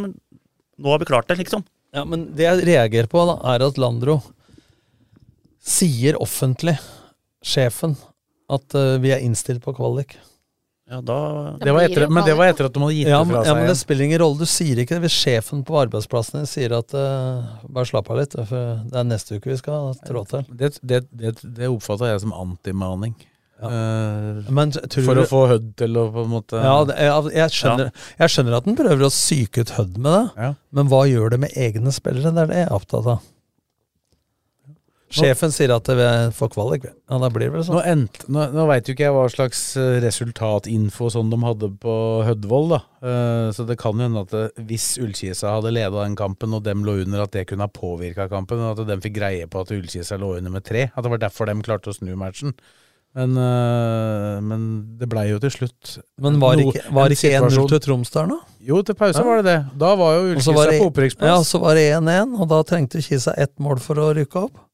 Speaker 3: Nå har vi klart det, liksom.
Speaker 5: Ja, men det jeg reagerer på, da, er at Landro sier offentlig, sjefen, at eh, vi er innstilt på kvalik.
Speaker 3: Ja, da
Speaker 4: Det var etter, men det var etter at de hadde gitt
Speaker 5: ja,
Speaker 4: det
Speaker 5: men,
Speaker 4: fra
Speaker 5: ja,
Speaker 4: seg.
Speaker 5: men det
Speaker 4: igjen.
Speaker 5: spiller ingen rolle. Du sier ikke det hvis sjefen på arbeidsplassen din sier at eh, bare slapp av litt, for det er neste uke vi skal trå til.
Speaker 4: Det, det, det, det oppfatta jeg som antimaning. Eh,
Speaker 5: Men tror
Speaker 4: for
Speaker 5: du-
Speaker 4: å få Hødd til å på en måte
Speaker 5: Ja, det, jeg, jeg, skjønner, jeg skjønner at den prøver å psyke ut Hødd med det, men hva gjør det med egne spillere? Det er det jeg er opptatt av. Sjefen sier at vi får kvalik. vi. Ja, da blir det vel
Speaker 4: Nå,
Speaker 5: sånn.
Speaker 4: endte- nå, nå veit jo ikke jeg hva slags eh, resultatinfo som de hadde på Hødvold, da. Eh, så det kan jo hende at det, hvis Ullkisa hadde leda den kampen, og dem lå under, at det kunne ha påvirka kampen. og At dem fikk greie på at Ullkisa lå under med tre. At det var derfor dem klarte å snu matchen. Men, eh, men det blei jo til slutt
Speaker 5: Men var
Speaker 4: noe-
Speaker 5: ikke, var
Speaker 4: en
Speaker 5: ikke 1-0
Speaker 4: situasjon-
Speaker 5: til Troms der nå?
Speaker 4: Jo, til pause
Speaker 5: Ja.
Speaker 4: var det det. Da var jo
Speaker 5: Og så var
Speaker 4: Ullkisa
Speaker 5: det-
Speaker 4: på opprykksplass.
Speaker 5: Ja, så var det 1-1, og da trengte Kisa ett mål for å rykke opp.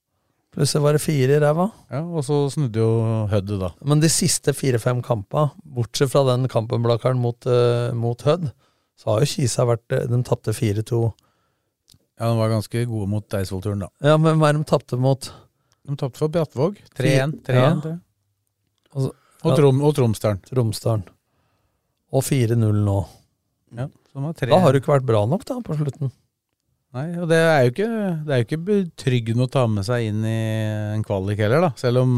Speaker 5: Plutselig var det fire i ræva.
Speaker 4: Ja, og så snudde jo Hødd, da.
Speaker 5: Men de siste fire-fem kampa, bortsett fra den kampen Blakkaren mot, eh, mot Hødd, så har jo Kisa vært eh, De tapte 4-2.
Speaker 4: Ja, De var ganske gode mot Eidsvollturen, da.
Speaker 5: Ja, men hva er det de tapte mot?
Speaker 4: De tapte for Brattvåg. 3-1. 3-1, det.
Speaker 5: Og, så-
Speaker 4: Og Trom- og Tromsdalen.
Speaker 5: Tromsdalen. Og 4-0 nå.
Speaker 4: Ja, så de har tre-
Speaker 5: Da har du ikke vært bra nok, da, på slutten.
Speaker 4: Nei, og det er jo ikke, det er jo ikke betryggende å ta med seg inn i en kvalik heller, da. Selv om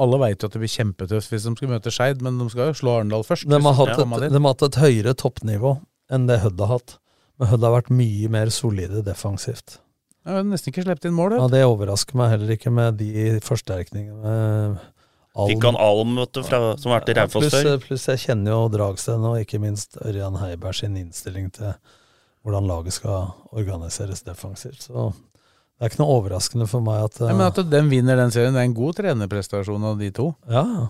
Speaker 4: alle veit jo at det blir kjempetøft hvis de skal møte Skeid, men de skal jo slå Arendal først.
Speaker 5: De har,
Speaker 4: hvis
Speaker 5: hatt
Speaker 4: skal komme
Speaker 5: et,
Speaker 4: dit.
Speaker 5: de har hatt et høyere toppnivå enn det Hødd har hatt. Men Hødd har vært mye mer solide defensivt.
Speaker 4: Ja, de har nesten ikke sluppet inn mål,
Speaker 5: Ja,
Speaker 4: vet du.
Speaker 5: Det overrasker meg heller ikke med de forsterkningene. Alm-
Speaker 3: Fikk han Alm, vet du, fra, som har vært i
Speaker 5: Ja,
Speaker 3: Raufoss før.
Speaker 5: Pluss, eh, pluss jeg kjenner jo Dragsten og ikke minst Ørjan Heiberg sin innstilling til hvordan laget skal organiseres defensivt. Så det er ikke noe overraskende for meg at
Speaker 4: Nei,
Speaker 5: eh,
Speaker 4: men at de vinner den serien, det er en god trenerprestasjon av de to.
Speaker 5: eh, Ja.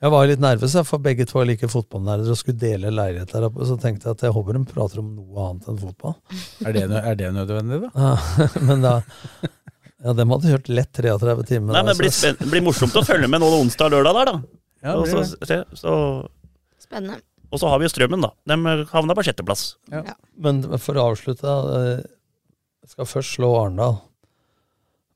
Speaker 5: Jeg var jo litt nervøs, jeg, for begge to er like fotballnerder og skulle dele leilighet der oppe. Så tenkte jeg at jeg håper de prater om noe annet enn fotball.
Speaker 4: Er det, nø- er det nødvendig, da?
Speaker 5: Ja, men da Ja, dem hadde hørt lett 33 timer.
Speaker 3: Nei, men Det blir,
Speaker 5: altså.
Speaker 3: spenn- det blir morsomt å følge med nå det onsdag og lørdag der, da.
Speaker 4: Ja,
Speaker 3: og
Speaker 4: det
Speaker 3: så,
Speaker 4: blir
Speaker 3: se, så,
Speaker 2: Spennende.
Speaker 3: og så har vi jo Strømmen, da. De havna på sjetteplass.
Speaker 5: Men for å avslutte, da, eh, jeg skal først slå Arendal.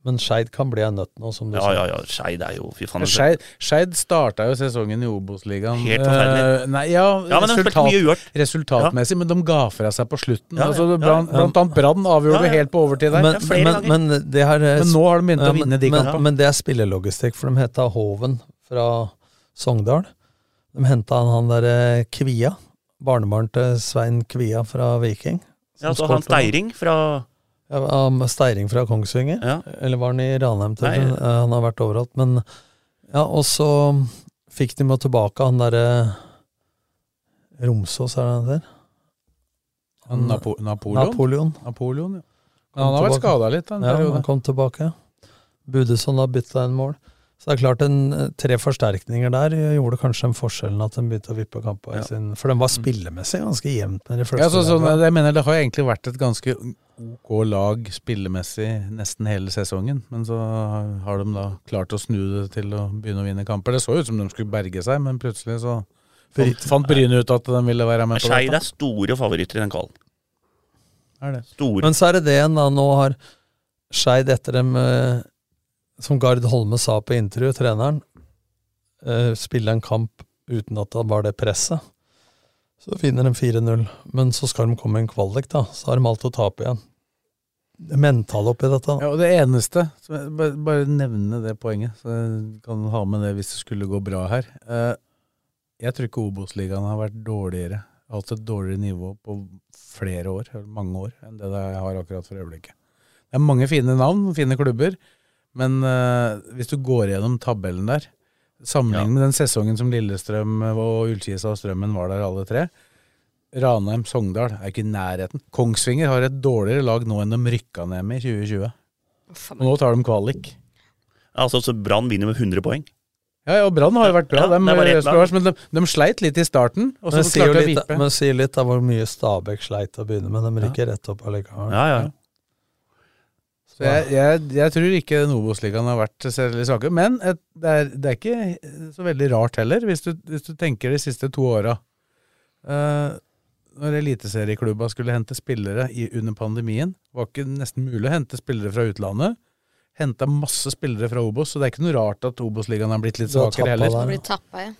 Speaker 5: Men Skeid kan bli en nøtt nå, som du
Speaker 3: Ja,
Speaker 5: sa.
Speaker 3: ja, ja. Skeid er jo Fy faen.
Speaker 4: Skeid Skeid starta jo sesongen i Obos-ligaen.
Speaker 3: Helt forferdelig.
Speaker 4: Eh, nei, ja,
Speaker 3: Ja, men de spilte
Speaker 4: resultat,
Speaker 3: mye uavgjort.
Speaker 4: resultatmessig, men de ga fra seg på slutten.
Speaker 3: Ja, ja,
Speaker 4: altså,
Speaker 3: ja.
Speaker 4: Brann- Blant annet Brann avgjorde
Speaker 3: Ja, ja.
Speaker 4: helt på overtid der.
Speaker 5: Men, men, men, det har, eh,
Speaker 4: Men nå har de begynt å
Speaker 5: men-
Speaker 4: vinne de
Speaker 5: men,
Speaker 4: kampene.
Speaker 5: Men det er spillelogistikk, for de henta Hoven fra Sogndal. De henta han, han derre Kvia, barnebarn til Svein Kvia fra Viking. som
Speaker 3: Ja, så han
Speaker 5: skårte for-
Speaker 3: Steiring fra
Speaker 5: Ja, um, Steiring fra Kongsvinger? Eller var han i Ranheim? til?
Speaker 3: Nei.
Speaker 5: Eh, Han har vært overalt. Men ja, og så fikk de med tilbake han derre Romsås, er det han heter?
Speaker 4: Han Napo Napoleon?
Speaker 5: Napoleon.
Speaker 4: Napoleon, ja. Men han har vært skada litt. da, en
Speaker 5: Ja,
Speaker 4: periode.
Speaker 5: han kom tilbake. Budesson har bytta en mål. Så det er klart, en, eh, tre forsterkninger der gjorde kanskje den forskjellen at de begynte å vippe kamper. i sin- For den var spillemessig ganske jevnt med de
Speaker 4: ja,
Speaker 5: fleste.
Speaker 4: så, sånn,
Speaker 5: lagene.
Speaker 4: jeg mener Det har egentlig vært et ganske ok lag spillemessig nesten hele sesongen. Men så har de da klart å snu det til å begynne å vinne kamper. Det så ut som de skulle berge seg, men plutselig så Fant, fant Bryne ut at den ville være med på
Speaker 3: Skeid
Speaker 4: dette?
Speaker 3: er store favoritter i den kvalen.
Speaker 4: Er det?
Speaker 3: Store.
Speaker 5: Men så er det det en da nå har Skeid etter dem, eh, som Gard Holme sa på intervju, treneren, eh, spille en kamp uten at det var det presset. Så vinner de 4-0, men så skal de komme i en kvalik, da. Så har de alt å tape igjen. Det mentale oppi dette.
Speaker 4: Ja, og det eneste så jeg bare, bare nevne det poenget, så jeg kan ha med det hvis det skulle gå bra her. Eh, Jeg tror ikke Obos-ligaen har vært dårligere, hatt et dårligere nivå på flere år, eller mange år, enn det det har akkurat for øyeblikket. Det er mange fine navn, fine klubber, men eh, hvis du går gjennom tabellen der, sammenlignet med den sesongen som Lillestrøm eh, og Ullkisa og Strømmen var der alle tre, Ranheim, Sogndal er ikke i nærheten. Kongsvinger har et dårligere lag nå enn de rykka ned med i 2020. Og nå tar de kvalik.
Speaker 3: Altså, så Brann vinner med 100 poeng.
Speaker 4: Ja, ja, og Brann har jo vært bra,
Speaker 3: Ja,
Speaker 4: dem,
Speaker 3: det var rett
Speaker 4: skulle
Speaker 3: lag.
Speaker 4: vært, men de, de sleit litt i starten. Og så
Speaker 5: men sier jo
Speaker 4: klarte de å
Speaker 5: litt,
Speaker 4: vippe.
Speaker 5: men sier litt av hvor mye Stabæk sleit til å begynne med. De rykker rett opp allikevel.
Speaker 3: Ja, ja, ja.
Speaker 4: Så jeg, jeg, jeg tror ikke den Obos-ligaen har vært særlig svake. Men et, det, er, det er ikke så veldig rart heller, hvis du, hvis du tenker de siste to åra. Eh, når eliteserieklubba skulle hente spillere i, under pandemien, var ikke nesten mulig å hente spillere fra utlandet. Henta masse spillere fra Obos, så det er ikke noe rart at Obos-ligaen har blitt litt
Speaker 5: Du har
Speaker 4: svakere
Speaker 5: tappa
Speaker 4: heller.
Speaker 5: der,
Speaker 2: Blir tappa, ja.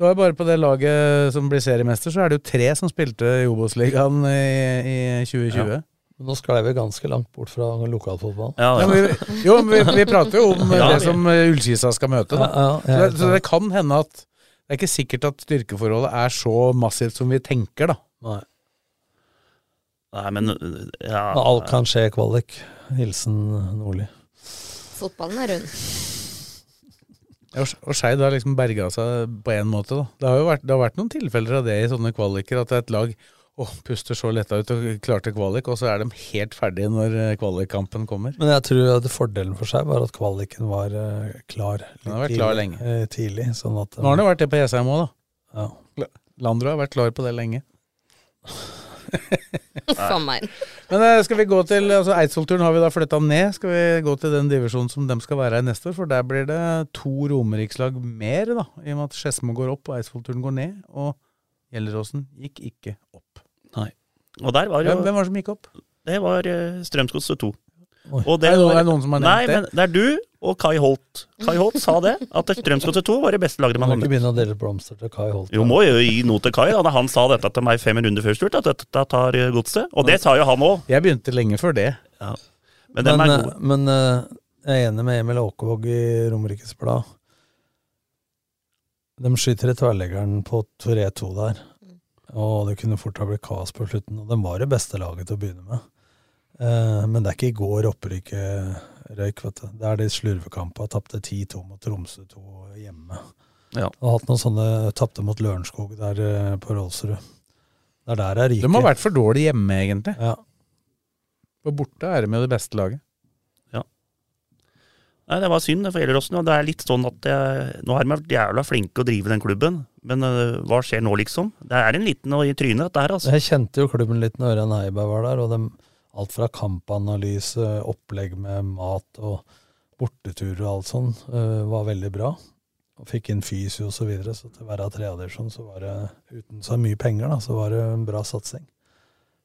Speaker 4: Det var bare på det laget som blir seriemester, så er det jo tre som spilte i Obos-ligaen i, i 2020.
Speaker 5: Men nå sklei vi ganske langt bort fra lokalfotball.
Speaker 4: Ja, men vi, jo, men vi, vi prater jo om eh,
Speaker 5: Ja.
Speaker 4: det som eh, Ullkisa skal møte. Da.
Speaker 5: Ja, ja,
Speaker 4: så,
Speaker 5: ja,
Speaker 4: det, så det kan hende at det er ikke sikkert at styrkeforholdet er så massivt som vi tenker, da.
Speaker 5: Nei.
Speaker 3: Nei, men øh, ja,
Speaker 5: Men alt kan skje i kvalik. Hilsen Nordli.
Speaker 2: Fotballen er rund.
Speaker 4: Og, og Skeid har liksom berga seg på én måte, da. Det har jo vært, det har vært noen tilfeller av det i sånne kvaliker, at et lag å, puster så letta ut og klarte kvalik, og så er de helt ferdige når eh, kvalikkampen kommer.
Speaker 5: Men jeg tror at fordelen for seg var at kvaliken var eh, klar.
Speaker 4: Den har vært klar lenge.
Speaker 5: eh, tidlig, sånn at eh,
Speaker 4: Nå har det vært det på Jessheim òg, da.
Speaker 5: Ja.
Speaker 4: La- Landro har vært klar på det lenge.
Speaker 2: Faen meg.
Speaker 4: Men eh, skal vi gå til altså Eidsvollturen har vi da flytta ned. Skal vi gå til den divisjonen som de skal være i neste år? For der blir det to romerikslag mer, da. I og med at Skedsmo går opp og Eidsvollturen går ned. Og Gjelleråsen gikk ikke opp.
Speaker 3: Nei. Og der var jo
Speaker 4: Hvem- hvem var det som gikk opp?
Speaker 3: Det var eh, Strømsgodset 2.
Speaker 4: Oi. Er det noen- er det noen som har nevnt
Speaker 3: nei,
Speaker 4: det?
Speaker 3: Men det er du og Kai Holt. Kai Holt sa det, at Strømsgodset 2 var det beste laget
Speaker 5: Man
Speaker 3: man
Speaker 5: kan
Speaker 3: hadde.
Speaker 5: ikke begynne å dele blomster til Kai Holt.
Speaker 3: Jo, må jo gi noe til Kai. Da. Han sa dette til meg fem runder før sturt, at dette tar eh, godset. Og det sa jo han òg.
Speaker 4: Jeg begynte lenge før det.
Speaker 3: Ja. Men
Speaker 5: Men,
Speaker 3: dem er
Speaker 5: eh,
Speaker 3: gode.
Speaker 5: men eh, jeg er enig med Emil Åkevåg i Romerikes Blad. De skyter i tverrleggeren på 3-2 der, og det kunne fort ha blitt kaos på slutten. Og de var det beste laget til å begynne med. Eh, men det er ikke i går opprykket røyk, vet du. Det er de slurvekampene. Tapte 10-2 mot Tromsø 2 hjemme.
Speaker 3: Ja.
Speaker 5: Og hatt noen sånne tapte mot Lørenskog der eh, på Rolsrud. Det er der jeg ryker.
Speaker 4: De har vært for dårlige hjemme, egentlig.
Speaker 5: Ja.
Speaker 4: For borte er de med det beste laget.
Speaker 3: Nei, Det var synd det, for Gjelleråsen. og Det er litt sånn at jeg, nå er de vært jævla flinke å drive den klubben, men eh, hva skjer nå, liksom? Det er en liten og i trynet, dette her, altså.
Speaker 5: Jeg kjente jo klubben litt når Ørjan Heiberg var der, og dem, alt fra kampanalyse, opplegg med mat og borteturer og alt sånn, eh, var veldig bra. Og fikk inn fysio og så videre, så til hver av tredjedelsjon så var det, uten så mye penger da, så var det en bra satsing.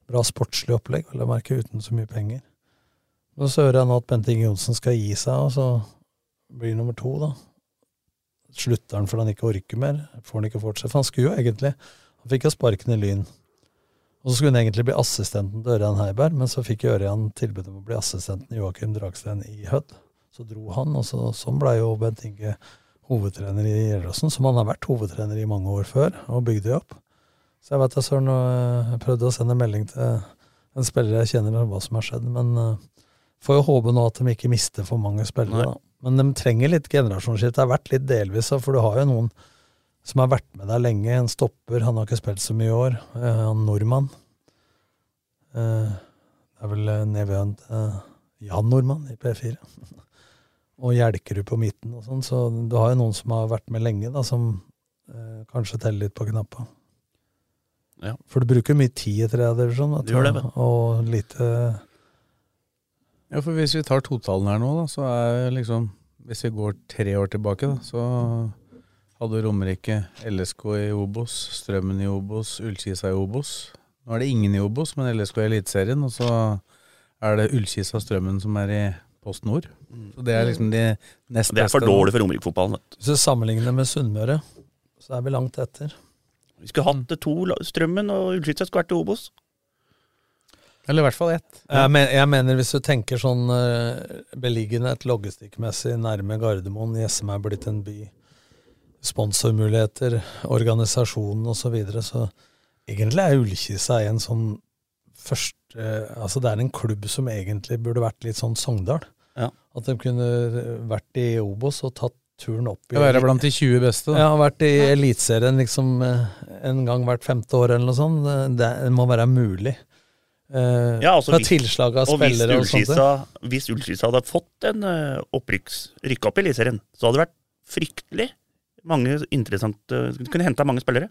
Speaker 5: Bra sportslig opplegg, vil jeg merke, uten så mye penger. Og så hører jeg nå at Bente Inge Johnsen skal gi seg, og så blir nummer to, da. Slutter han fordi han ikke orker mer? Får han ikke fortsette? For han skulle jo egentlig Han fikk jo sparken i Lyn. Og så skulle hun egentlig bli assistenten til Ørjan Heiberg, men så fikk Ørjan tilbud om å bli assistenten til Joakim Dragsten i Hødd. Så dro han, og så, sånn ble jo Bent Inge hovedtrener i Gjelleråsen, som han har vært hovedtrener i mange år før, og bygde jo opp. Så jeg vet da søren, og jeg prøvde å sende melding til en spiller jeg kjenner, om hva som har skjedd, men eh, får jo håpe nå at de ikke mister for mange spillere, da. Men de trenger litt generasjonsskifte. Det har vært litt delvis, da, for du har jo noen som har vært med deg lenge. En stopper, han har ikke spilt så mye i år. Eh, Han nordmann. Eh, Det er vel eh, nevøen til eh, Jan Nordmann i P4. Og Hjelkerud på midten og sånn. Så du har jo noen som har vært med lenge, da, som eh, kanskje teller litt på knappa.
Speaker 3: Ja.
Speaker 5: For du bruker mye tid i tredje divisjon, vet
Speaker 3: Du gjør det, vet
Speaker 5: du. Og lite
Speaker 4: Ja, for hvis vi tar totalen her nå, da, så er liksom Hvis vi går tre år tilbake, da, så Hadde Romerike LSK i Obos, Strømmen i Obos, Ullkisa i Obos. Nå er det ingen i Obos, men LSK i Eliteserien. Og så er det Ullkisa og Strømmen som er i Post Nord. Så det er liksom de nest
Speaker 3: Mm. Det er for
Speaker 4: beste nå.
Speaker 3: dårlig for Romerike-fotballen. vet du.
Speaker 5: Hvis du sammenligner med Sunnmøre, så er vi langt etter.
Speaker 3: Vi skulle
Speaker 5: Mm.
Speaker 3: hatt det to, la- Strømmen og Ullskisa skulle vært i Obos.
Speaker 4: Eller i hvert fall ett.
Speaker 5: Jeg, men, jeg mener hvis du tenker sånn eh, beliggenhet logistikkmessig nærme Gardermoen, Jessem er blitt en by, sponsormuligheter, organisasjonen osv., så, videre, så egentlig er Ullkisa en sånn først, eh, altså Det er en klubb som egentlig burde vært litt sånn Sogndal.
Speaker 3: Ja.
Speaker 5: At de kunne vært i Obos og tatt turen opp i
Speaker 4: Ja, være blant de 20 beste, da.
Speaker 5: Ja, vært i Eliteserien liksom eh, en gang hvert femte år eller noe sånt. Eh, Det, det må være mulig. Eh,
Speaker 3: Ja, altså,
Speaker 5: fra
Speaker 3: hvis-
Speaker 5: tilslag av
Speaker 3: og hvis
Speaker 5: spillere og sånt.
Speaker 3: Ullskisa- Hvis Ullskisa hadde fått en eh, opprykks, rykka opp i Eliteserien, så hadde det vært fryktelig mange interessante Du kunne henta mange spillere.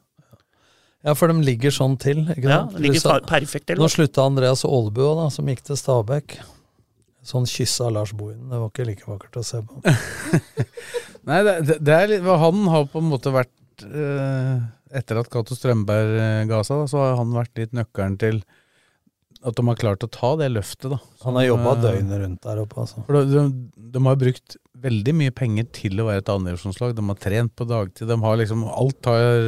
Speaker 5: Ja, for de ligger sånn til. Ikke
Speaker 3: Ja,
Speaker 5: sant?
Speaker 3: de ligger
Speaker 5: Hvis da-
Speaker 3: per- perfekt til,
Speaker 5: Nå
Speaker 3: da.
Speaker 5: slutta Andreas Aalbu òg, da, som gikk til Stabæk. Sånn kyssa Lars Bohinen. Det var ikke like vakkert å se på.
Speaker 4: Nei, det, det- det er litt, han har på en måte vært eh, Etter at Cato Strømberg eh, ga seg, da, så har han vært litt nøkkelen til at de har klart å ta det løftet. da.
Speaker 5: Han har jobba
Speaker 4: Som, eh,
Speaker 5: døgnet rundt der oppe, altså.
Speaker 4: For de, de, de har brukt veldig mye penger til å være et andredivisjonslag. De har trent på dagtid. De har liksom, alt har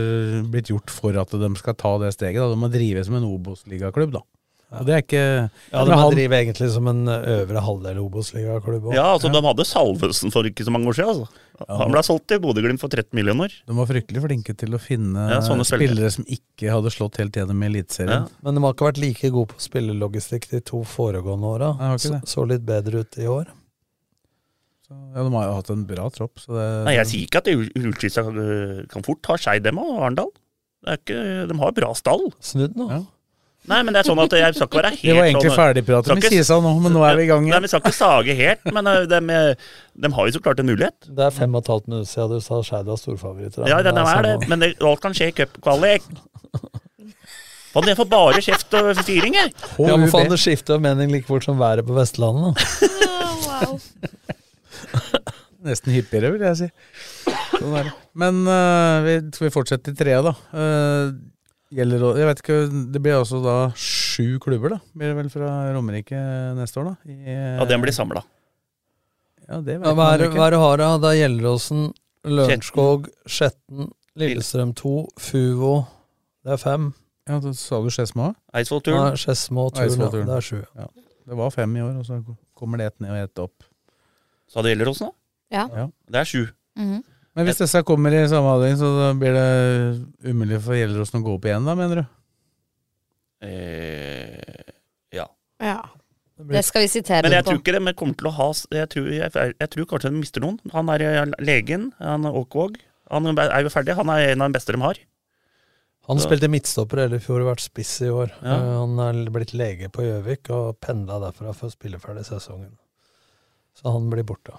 Speaker 4: blitt gjort for at de skal ta det steget. Da. De må drive som en Obos-ligaklubb, da. Og det er ikke
Speaker 5: Ja,
Speaker 4: Men
Speaker 5: De
Speaker 4: han-
Speaker 5: driver egentlig som en eh, øvre halvdel Obos-ligaklubb òg.
Speaker 3: Ja, altså De hadde Salvesen for ikke så mange år siden. Altså. Han ble solgt til Bodø-Glimt for 13 millioner.
Speaker 4: De var fryktelig flinke til å finne
Speaker 3: Ja, sånne spillere.
Speaker 4: spillere som ikke hadde slått helt gjennom i Eliteserien.
Speaker 5: Men de har ikke vært like gode på spillelogistikk de to foregående åra.
Speaker 4: Nei, har ikke
Speaker 5: Så,
Speaker 4: det.
Speaker 5: så litt bedre ut i år.
Speaker 4: Ja, de har jo hatt en bra tropp. Så det,
Speaker 3: Nei, Jeg sier ikke at Ull- Ullskisa øh, kan fort ta Skeid dem og Arendal. Det er ikke, de har bra stall.
Speaker 5: Snudd nå.
Speaker 3: Nei, men det er sånn at jeg skal ikke være helt
Speaker 4: Vi var egentlig
Speaker 3: sånn-
Speaker 4: ferdigpratet
Speaker 3: skal
Speaker 4: med
Speaker 3: ikke-
Speaker 4: Kisa nå, men nå er vi i gang igjen.
Speaker 3: Nei, Vi skal ikke sage helt, men øh, dem, øh, dem har jo så klart en mulighet.
Speaker 5: Det er fem og et halvt minutt siden du sa Skeid var storfavoritter. da.
Speaker 3: Ja, den er det,
Speaker 5: samme.
Speaker 3: men det, alt kan skje i cupkvalik. Faen, jeg får bare kjeft og forstyrring, jeg.
Speaker 5: Ja, men faen, det skifter jo mening like fort som været på Vestlandet. da.
Speaker 4: Nesten hyppigere, vil jeg si. Sånn er det. Men øh, vi, skal vi fortsette i trea, da? Øh, gjelder, å- jeg vet ikke, Det blir altså da sju klubber, da? Blir det vel fra Romerike neste år, da? I,
Speaker 3: Ja, den blir samla.
Speaker 4: Ja, det
Speaker 5: Ja,
Speaker 4: vet
Speaker 5: Hva
Speaker 4: man
Speaker 5: er
Speaker 4: jo
Speaker 5: det-
Speaker 4: ikke.
Speaker 5: hva er det har da? Det er Gjelleråsen, Lørenskog, Skjetten, Lillestrøm 2, Fuvo. Det er fem.
Speaker 4: Ja, da Sa du Skedsmo?
Speaker 3: Eidsvollturen.
Speaker 5: Nei, Skedsmo og Turen,
Speaker 4: Eidsvollturen.
Speaker 5: ja. Det er sju.
Speaker 4: Ja. Det var fem i år, og så kommer det ett ned og ett opp.
Speaker 3: Så det gjelder også nå?
Speaker 4: Ja. Ja.
Speaker 3: Det er sju.
Speaker 2: Mhm.
Speaker 4: Men hvis disse kommer i samme avdeling, så da blir det umulig for Gjelleråsen å gå opp igjen, da, mener du?
Speaker 3: Eh, ja.
Speaker 2: Ja. Det skal vi sitere
Speaker 3: Men jeg
Speaker 2: på.
Speaker 3: tror ikke det, men kommer til å ha s- Jeg tror, jeg, jeg tror kanskje de mister noen. Han er eh, legen, han er Åkvåg. Han er jo ferdig, han er en av de beste de har.
Speaker 5: Han
Speaker 3: Så-
Speaker 5: spilte midtstopper eller i fjor og vært spiss i år.
Speaker 3: Ja.
Speaker 5: Eh, Han er blitt lege på Gjøvik og pendla derfra for å spille ferdig sesongen. Så han blir borte.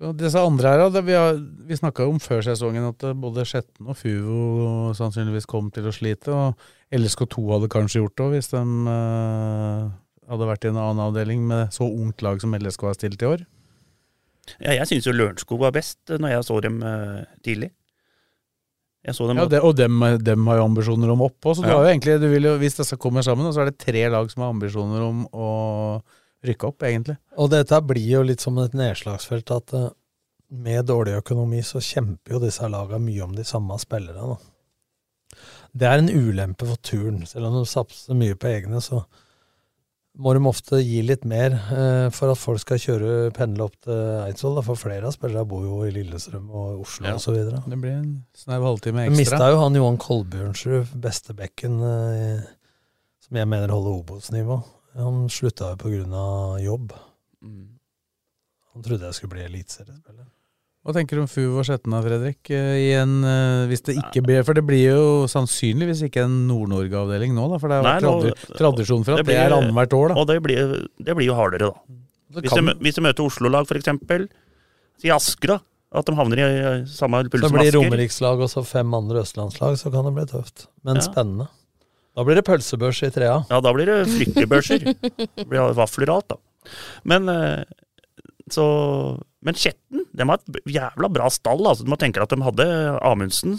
Speaker 4: Så disse andre her, da, det vi, har- vi snakka om før sesongen at eh, både Skjetten og Fuvo sannsynligvis kom til å slite. Og LSK2 hadde kanskje gjort det òg, hvis de eh, hadde vært i en annen avdeling med så ungt lag som LSK har stilt i år.
Speaker 3: Ja, jeg syns jo Lørenskog var best eh, når jeg så dem eh, tidlig. Jeg så dem
Speaker 4: Ja, det, og dem, dem har jo ambisjoner om opp òg, så du
Speaker 3: Ja.
Speaker 4: har jo egentlig, du vil jo, hvis disse kommer sammen, da, så er det tre lag som har ambisjoner om å rykke opp, egentlig.
Speaker 5: Og dette blir jo litt som et nedslagsfelt at eh, med dårlig økonomi så kjemper jo disse laga mye om de samme spillerne. Da. Det er en ulempe for turn. Selv om de satser mye på egne, så må de ofte gi litt mer eh, for at folk skal kjøre pendle opp til Eidsvoll. Da. For flere av spillerne bor jo i Lillestrøm og Oslo og så videre.
Speaker 4: Det blir en snau halvtime
Speaker 5: Vi
Speaker 4: ekstra.
Speaker 5: mista jo han Johan Kolbjørnsrud, beste bekken, eh, som jeg mener holder Obos-nivå. Han slutta jo på grunn av jobb. Han trodde jeg skulle bli eliteseriespiller.
Speaker 4: Hva tenker du om Fuvo og Skjetna, Fredrik? Eh, I en, eh, hvis det ikke blir, for det blir jo sannsynligvis ikke en Nord-Norge-avdeling nå, da, for det er
Speaker 3: Nei,
Speaker 4: jo
Speaker 3: nå-
Speaker 4: tradi tradisjon for at det,
Speaker 3: blir-
Speaker 4: er annethvert år. da.
Speaker 3: Og det blir, det blir jo hardere, da.
Speaker 4: Det
Speaker 3: Hvis de,
Speaker 4: kan-
Speaker 3: mø- hvis de møter Oslo-lag, for eksempel, si Asker, da. At de havner i eh, samme puls
Speaker 5: Så
Speaker 3: som
Speaker 5: blir
Speaker 3: Asker.
Speaker 5: Romerikslag og så fem andre østlandslag, så kan det bli tøft. Men
Speaker 3: Ja.
Speaker 5: spennende. Da blir det pølsebørs i trea.
Speaker 3: Ja, da blir det flyttebørser. Det blir vafler og alt, da. Men eh, så Men Skjetten, De har et b- jævla bra stall. Altså. Du må tenke at de hadde Amundsen.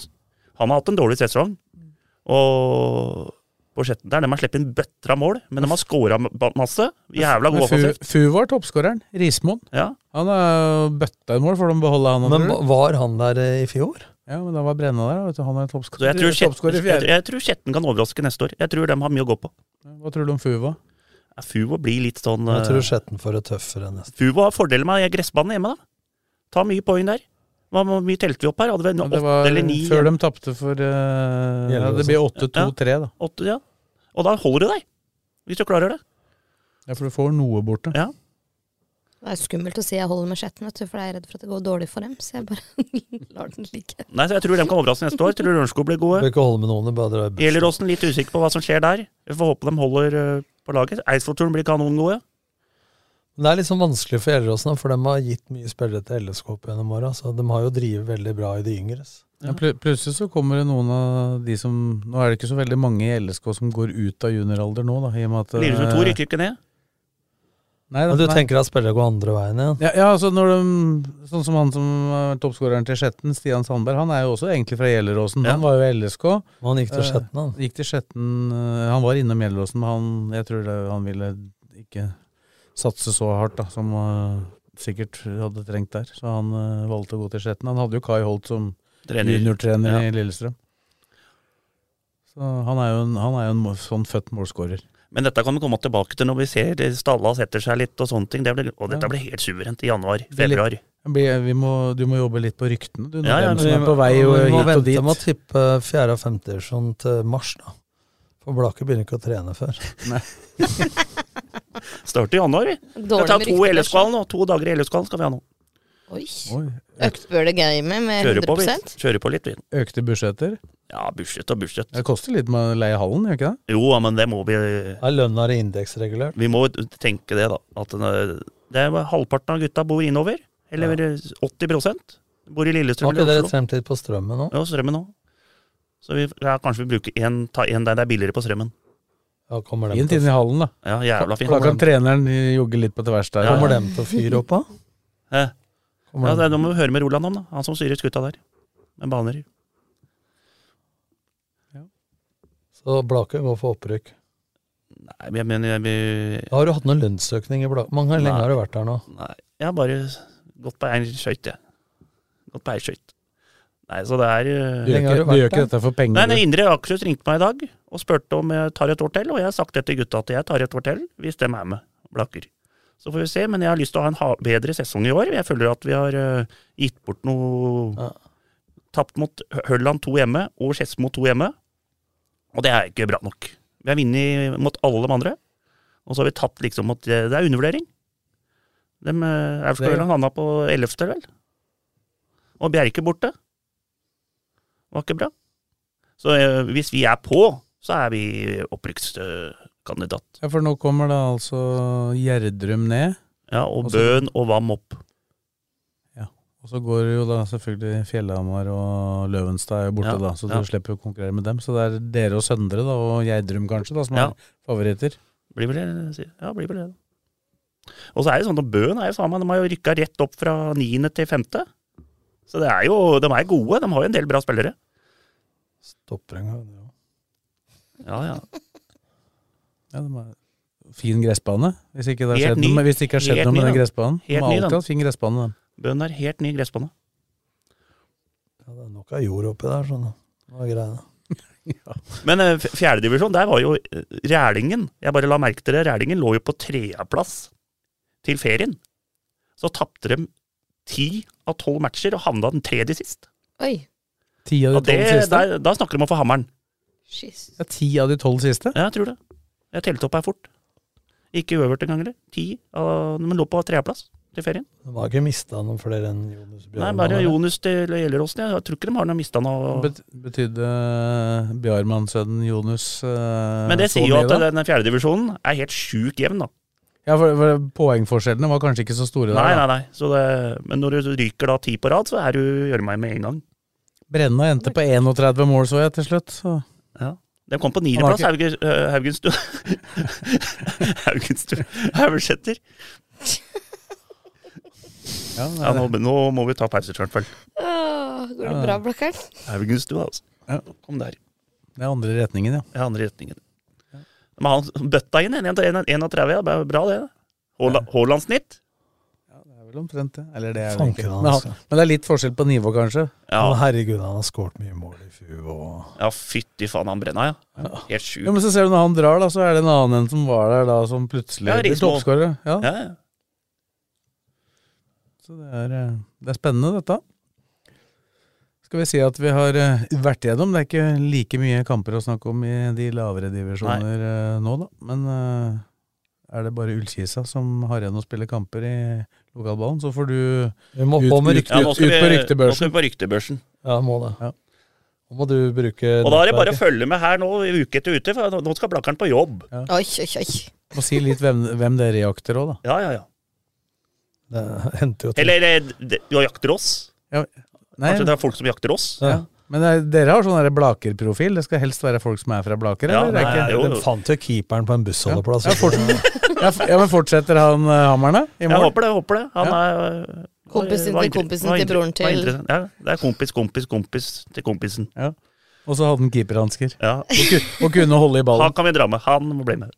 Speaker 3: Han har hatt en dårlig sesong. Og på sjetten der, de har sluppet inn bøtter av mål, men de har scora masse. Jævla
Speaker 4: Men
Speaker 3: gode
Speaker 4: Fu,
Speaker 3: offensivt.
Speaker 4: Fu var toppskåreren. Rismoen.
Speaker 3: Ja.
Speaker 4: Han er bøtta i mål, får de beholde han.
Speaker 5: Men var han der eh, i fjor?
Speaker 4: Ja, men da var Brenna der. Vet du. Han er
Speaker 3: Så jeg
Speaker 4: toppskårer.
Speaker 3: tror,
Speaker 4: toppskårer
Speaker 3: Skjetten,
Speaker 4: i
Speaker 3: jeg,
Speaker 4: fjerde.
Speaker 3: jeg tror Skjetten kan overraske neste år. Jeg tror de har mye å gå på.
Speaker 4: Hva tror du om Fuva?
Speaker 3: Ja, Fuvo blir litt sånn
Speaker 5: Jeg
Speaker 3: eh,
Speaker 5: tror Skjetten får det tøffere neste.
Speaker 3: Fuvo har fordeler med gressbanen hjemme, da. Ta mye poeng der. Hva hvor mye telte vi opp her? Hadde vi en
Speaker 4: Det
Speaker 3: åtte
Speaker 4: var
Speaker 3: eller ni?
Speaker 4: før de tapte for eh, ja, Det blir 8-2-3, da.
Speaker 3: Ja, åtte, ja. Og da holder det deg, hvis du klarer det.
Speaker 4: Ja, For du får noe borte.
Speaker 3: Ja.
Speaker 2: Det er skummelt å si jeg holder med Skjetten, vet du, for jeg er redd for at det går dårlig for dem. Så jeg bare lar den ligge.
Speaker 3: Nei, så Jeg tror de kan overraske neste år. Jeg tror Lørenskog blir gode.
Speaker 5: Bør ikke holde med noen, det bare drar i bussen.
Speaker 3: Gjelleråsen litt usikker på hva som skjer der. Vi får håpe de holder eh, på laget. Eidsvollturen blir kanongode.
Speaker 5: Men Det er litt sånn vanskelig for Gjelleråsen, da, for de har gitt mye spillere til LSK opp gjennom åra. Så de har jo drevet veldig bra i de yngres.
Speaker 4: Ja. plu- Plutselig så kommer det noen av de som Nå er det ikke så veldig mange i LSK som går ut av junioralder nå, da. I og med at eh,
Speaker 3: Lillestrøm 2 rykker ikke ned.
Speaker 4: Nei, da,
Speaker 5: Men du
Speaker 4: nei.
Speaker 5: tenker at spillere går andre veien igjen?
Speaker 4: Ja, ja altså når de, Sånn som han som er toppskåreren til Skjetten, Stian Sandberg, han er jo også egentlig fra Gjelleråsen. Han var jo LSK.
Speaker 5: Men han gikk til
Speaker 4: Eh,
Speaker 5: Skjetten, han.
Speaker 4: Gikk til Skjetten, eh, han var innom Gjelleråsen, men han, jeg tror det, han ville ikke satse så hardt da, som eh, sikkert hadde trengt der. Så han eh, valgte å gå til Skjetten. Han hadde jo Kai Holt som
Speaker 3: Trener.
Speaker 4: juniortrener
Speaker 3: Ja.
Speaker 4: i Lillestrøm. Så han er jo en, han er jo en må- sånn født målskårer.
Speaker 3: Men dette kan vi komme tilbake til når vi ser stalla setter seg litt og sånne ting. Det blir, og dette
Speaker 4: Ja.
Speaker 3: blir helt suverent i januar, februar.
Speaker 4: Det blir- Vi må, du må jobbe litt på ryktene, du.
Speaker 3: Ja, ja,
Speaker 4: Ja,
Speaker 3: men
Speaker 4: som
Speaker 3: vi
Speaker 4: er
Speaker 3: må-
Speaker 4: på vei
Speaker 5: Vi
Speaker 4: jo
Speaker 5: må
Speaker 4: hit og
Speaker 5: vente
Speaker 4: dit.
Speaker 5: med å tippe fjerde- og femtedivisjon til mars, da. For Blaker begynner ikke å trene før.
Speaker 3: Starter i januar, vi.
Speaker 2: Dårlig
Speaker 3: Skal ta
Speaker 2: med
Speaker 3: to i
Speaker 2: rykter,
Speaker 3: LS-kvalen nå. To dager i LS-kvalen skal vi ha nå.
Speaker 2: Oi.
Speaker 4: økt-
Speaker 2: Upper the game med
Speaker 3: Kjører på,
Speaker 2: 100
Speaker 3: vi. Kjører på litt, vi.
Speaker 4: Økte budsjetter.
Speaker 3: Ja, budsjett og budsjett.
Speaker 4: Det koster litt med å leie hallen, gjør ikke det?
Speaker 3: Jo, ja, men det må vi
Speaker 5: Er lønna det indeksregulert?
Speaker 3: Vi må tenke det, da. At den, det er halvparten av gutta bor innover. Eller 80 bor i Lillestrøm
Speaker 5: Har ikke
Speaker 3: eller
Speaker 5: dere
Speaker 3: Oslo.
Speaker 5: trent litt på strømmen nå?
Speaker 3: Ja, strømmen òg. Så vi, ja, kanskje vi bruker en, ta en der det er billigere på strømmen.
Speaker 5: Ja, kommer dem
Speaker 4: Fint
Speaker 5: til,
Speaker 4: inn i hallen, da.
Speaker 3: Ja, jævla fint.
Speaker 4: Da kan treneren jogge litt på tvers der.
Speaker 3: Ja, ja.
Speaker 5: kommer dem til å fyre opp, da?
Speaker 3: Eh.
Speaker 5: Kommer
Speaker 3: Ja,
Speaker 5: dem-
Speaker 3: det må vi høre med Roland om, da. Han som styrer skuta der. Med baner.
Speaker 5: Så Blaker går for opprykk.
Speaker 3: Nei, men jeg mener jeg, vi-
Speaker 5: Da har du hatt noen lønnsøkning i Blaker. Mange lenge
Speaker 3: Nei.
Speaker 5: har du vært der nå?
Speaker 3: Nei, jeg har bare gått på én skøyt, jeg. Gått på ei skøyt. Nei, så det er eh,
Speaker 4: Du gjør ikke- du gjør ikke dette for penger,
Speaker 3: Nei, nei,
Speaker 4: du.
Speaker 3: Indre Akershus ringte meg i dag og spurte om jeg tar et år til, og jeg har sagt det til gutta at jeg tar et år til hvis de er med, Blakker. Så får vi se, men jeg har lyst til å ha en ha bedre sesong i år. Jeg føler at vi har eh, gitt bort noe Tapt mot Hølland 2 hjemme og Skedsmo 2 hjemme, og det er ikke bra nok. Vi har vunnet mot alle de andre, og så har vi tapt liksom mot Det er undervurdering. De, eh, Aurskog
Speaker 4: Det-
Speaker 3: Hølland havna på 11., vel? Og Bjerke borte. Var ikke bra. Så eh, hvis vi er på, så er vi opprykkskandidat.
Speaker 4: Ja, for nå kommer da altså Gjerdrum ned,
Speaker 3: Ja, og
Speaker 4: Og så-
Speaker 3: Bøhn og Vam opp.
Speaker 4: og så går jo da selvfølgelig Fjellhamar og Løvenstad er jo borte,
Speaker 3: Ja,
Speaker 4: da, så
Speaker 3: ja.
Speaker 4: du slipper å konkurrere med dem. Så det er dere og Søndre da, og Gjerdrum kanskje, da, som
Speaker 3: Ja.
Speaker 4: er favoritter.
Speaker 3: Blir vel det, ja, blir vel det. da. Og så er det sånn at Bøhn er jo sammen, de har jo rykka rett opp fra niende til femte. Så det er jo, de er gode, de har jo en del bra spillere.
Speaker 5: Stopper en gang. ja.
Speaker 3: Ja, ja.
Speaker 4: Ja, de er fin gressbane, hvis ikke det har
Speaker 3: Helt
Speaker 4: skjedd
Speaker 3: ny.
Speaker 4: noe, med- hvis det ikke har skjedd
Speaker 3: Helt
Speaker 4: noe med
Speaker 3: ny,
Speaker 4: den
Speaker 3: da.
Speaker 4: gressbanen. De
Speaker 3: Helt
Speaker 4: har
Speaker 3: ny,
Speaker 4: alltid
Speaker 3: da.
Speaker 4: hatt fin gressbane, de.
Speaker 3: Bøhn er helt ny gressbane.
Speaker 5: Ja, det er nok av jord oppi der, sånn. Det var greiene.
Speaker 3: Men eh, f- fjerdedivisjon, der var jo eh, Rælingen. Jeg bare la merke til det. Rælingen lå jo på tredjeplass til ferien. Så tapte de ti av tolv matcher og havna den tredje sist.
Speaker 2: Oi.
Speaker 4: Ti av
Speaker 3: Og
Speaker 4: de
Speaker 3: det,
Speaker 4: tolv siste?
Speaker 3: der, da snakker de om å få hammeren.
Speaker 2: Jesus.
Speaker 4: Ja, ti av de tolv siste?
Speaker 3: Ja, jeg tror det. Jeg telte opp her fort. Ikke øvert engang, eller? Ti. av- Men lå på tredjeplass til ferien.
Speaker 5: De har ikke mista noen flere enn Jonas
Speaker 3: Nei,
Speaker 5: Bjørn.
Speaker 3: bare Jonas til Gjelleråsen. Jeg tror ikke de har noe mista noe
Speaker 4: Bet betydde Bjarmann-sønnen Jonas eh,
Speaker 3: Men det
Speaker 4: så
Speaker 3: sier jo
Speaker 4: mye,
Speaker 3: at
Speaker 4: da?
Speaker 3: den fjerdedivisjonen er helt sjukt jevn, da.
Speaker 4: Ja, for, for poengforskjellene var kanskje ikke så store
Speaker 3: Nei, nei,
Speaker 4: der. da.
Speaker 3: nei. Så det, men når du ryker da ti på rad, så er du gjør meg med en gang.
Speaker 4: Brenna endte på 31 mål, så jeg, til slutt. Så.
Speaker 3: Ja. De kom på
Speaker 4: Han har
Speaker 3: niendeplass, Hauge,
Speaker 4: ikke-
Speaker 3: eh, Haugenstu. Haugenstu Haugensæter. Ja, nå, nå må vi ta pause, Tjørnfeld.
Speaker 2: Åh, går det bra, Blakkaren?
Speaker 3: Haugenstua, altså. Kom der.
Speaker 4: Det er andre retningen, ja.
Speaker 3: Ja, andre retningen. Men han bøtta inn en 31, ja, det er bra det. Haala- Haaland-snitt.
Speaker 4: Det er vel omtrent det. Eller det er det
Speaker 5: Fanken,
Speaker 4: ikke.
Speaker 5: han,
Speaker 4: Men,
Speaker 5: altså.
Speaker 4: han, men det er litt forskjell på nivå, kanskje.
Speaker 5: Men herregud, han har skåret mye mål i fjor. Og...
Speaker 3: Ja, fytti faen, han brenna, ja. Helt sjukt.
Speaker 4: Ja, men så ser du når han drar, da, så er det en annen enn som var der da, som plutselig
Speaker 3: Ja,
Speaker 4: blir
Speaker 3: Rismo.
Speaker 4: toppskårer. Ja.
Speaker 3: Ja, ja.
Speaker 4: Så det er, eh, det er spennende, dette. Skal vi si at vi har eh, vært igjennom. Det er ikke like mye kamper å snakke om i de lavere divisjoner eh, nå, da. Men eh, er det bare Ullkisa som har igjen å spille kamper i lokalballen, så får du
Speaker 5: Vi må på med rykte-
Speaker 4: ut,
Speaker 3: nå
Speaker 4: ut,
Speaker 3: skal vi- Nå
Speaker 4: ut på
Speaker 3: skal
Speaker 4: ryktebørsen.
Speaker 3: vi på ryktebørsen.
Speaker 5: Ja, må det. Nå må du bruke
Speaker 3: Og da er det bare å
Speaker 5: nettverket.
Speaker 3: følge med her nå i uke etter uke, for nå- nå skal Blakkaren på jobb.
Speaker 2: Oi, oi, oi.
Speaker 4: Og si litt hvem, hvem dere jakter òg, da.
Speaker 3: Ja, ja, ja.
Speaker 5: Det hendte jo til.
Speaker 3: Eller eh, de- de jakter oss.
Speaker 4: Ja, nei.
Speaker 3: Kanskje det er folk som jakter oss?
Speaker 4: Ja. Men det, er- dere har sånn der Blaker-profil. Det skal helst være folk som er fra Blaker?
Speaker 3: Ja,
Speaker 4: eller?
Speaker 3: nei,
Speaker 4: Er ikke-
Speaker 3: jo, jo.
Speaker 5: Den fant jo keeperen på en bussholdeplass.
Speaker 4: Ja, fort, ja, f- ja, men fortsetter han uh, hammerne? i
Speaker 3: Jeg
Speaker 4: morgen?
Speaker 3: håper det, håper det. Han
Speaker 4: Ja.
Speaker 3: er øh,
Speaker 2: Kompisen
Speaker 3: var
Speaker 2: til
Speaker 3: inter-
Speaker 2: kompisen
Speaker 3: var
Speaker 2: til
Speaker 3: inter-
Speaker 2: broren
Speaker 3: var
Speaker 2: til-
Speaker 3: interessant. Ja, det er kompis, kompis, kompis til kompisen.
Speaker 4: Ja. Og så hadde han keeperhansker.
Speaker 3: Ja.
Speaker 4: Og, ku- og kunne holde i ballen.
Speaker 3: Han kan vi dra med. Han må bli med.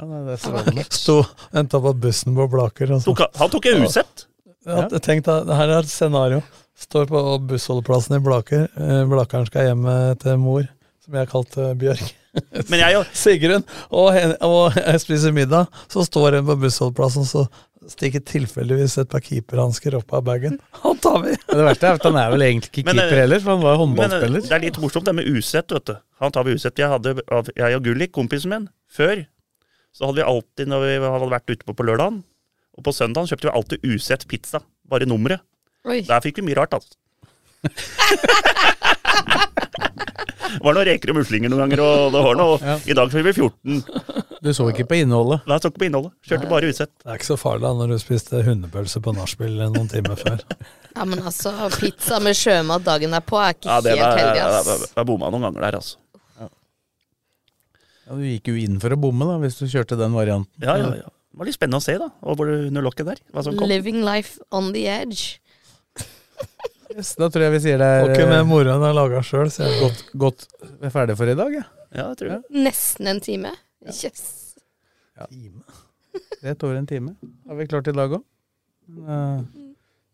Speaker 4: Ja, nei, det er strålende.
Speaker 5: Sto Venta på bussen på Blaker. Altså.
Speaker 3: Tok, han tok jo usett.
Speaker 5: Ja, tenk deg, det her er et scenario. Står på bussholdeplassen i Blaker. Eh, Blakeren skal hjem eh, til mor, som jeg har kalt eh, Bjørg.
Speaker 3: Men jeg jo-
Speaker 5: Sigrun. Og, hen- og jeg spiser middag, så står hun på bussholdeplassen, så stikker tilfeldigvis et par keeperhansker opp av bagen. Han tar vi!
Speaker 4: Men Det verste er at han er vel egentlig ikke
Speaker 3: Men, eh,
Speaker 4: keeper heller, for han var
Speaker 3: Men
Speaker 4: jo
Speaker 3: øh,
Speaker 4: håndballspiller.
Speaker 3: det er litt morsomt det med usett, vet du. Han tar vi usett. Jeg, hadde, av- jeg og Gullik, kompisen min, før så hadde vi alltid, når vi hadde vært ute på på lørdagen, og på søndagen kjøpte vi alltid usett pizza. Bare nummeret.
Speaker 2: Oi.
Speaker 3: Der fikk vi mye rart, altså. Det var noen reker og muslinger noen ganger, og det var noe. I dag fikk vi 14.
Speaker 4: Du så ikke på innholdet.
Speaker 3: Nei, jeg tok ikke på innholdet. Kjørte bare usett.
Speaker 5: Det er ikke så farlig da når du spiste hundepølse på nachspiel noen timer før.
Speaker 2: Ja, men altså, pizza med sjømat dagen derpå er ikke
Speaker 3: Ja, det
Speaker 2: helt heldig,
Speaker 3: var,
Speaker 2: ass.
Speaker 3: jeg bomma noen ganger der, altså.
Speaker 4: Ja, du gikk jo inn for å bomme, da, hvis du kjørte den varianten.
Speaker 3: Ja, ja, ja. Det var litt spennende å se, da. Og hvor du- under lokket der. Hva som kom.
Speaker 2: Living life on the edge.
Speaker 4: Yes, da tror jeg vi sier det er
Speaker 5: Og ikke med mora hun har laga sjøl, sier jeg.
Speaker 4: godt, godt vi er ferdig for i dag, ja.
Speaker 3: Ja, jeg tror det.
Speaker 2: Nesten en time. Yes.
Speaker 4: Rett over en time. Har vi klart i dag òg.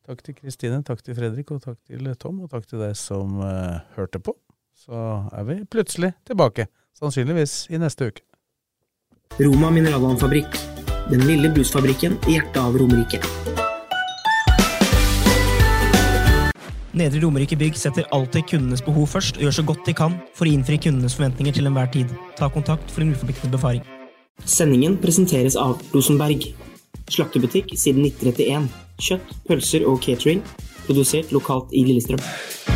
Speaker 4: takk til Kristine, takk til Fredrik, og takk til Tom, og takk til deg som eh, hørte på. Så er vi plutselig tilbake, sannsynligvis i neste uke.
Speaker 1: Roma mineralvannfabrikk. Den lille brusfabrikken i hjertet av Romerike.
Speaker 9: Nedre Romerike Bygg setter alltid kundenes behov først og gjør så godt de kan for å innfri kundenes forventninger til enhver tid. Ta kontakt for en uforpliktende befaring.
Speaker 1: Sendingen presenteres av Rosenberg. Slaktebutikk siden 1931. Kjøtt, pølser og catering. Produsert lokalt i Lillestrøm.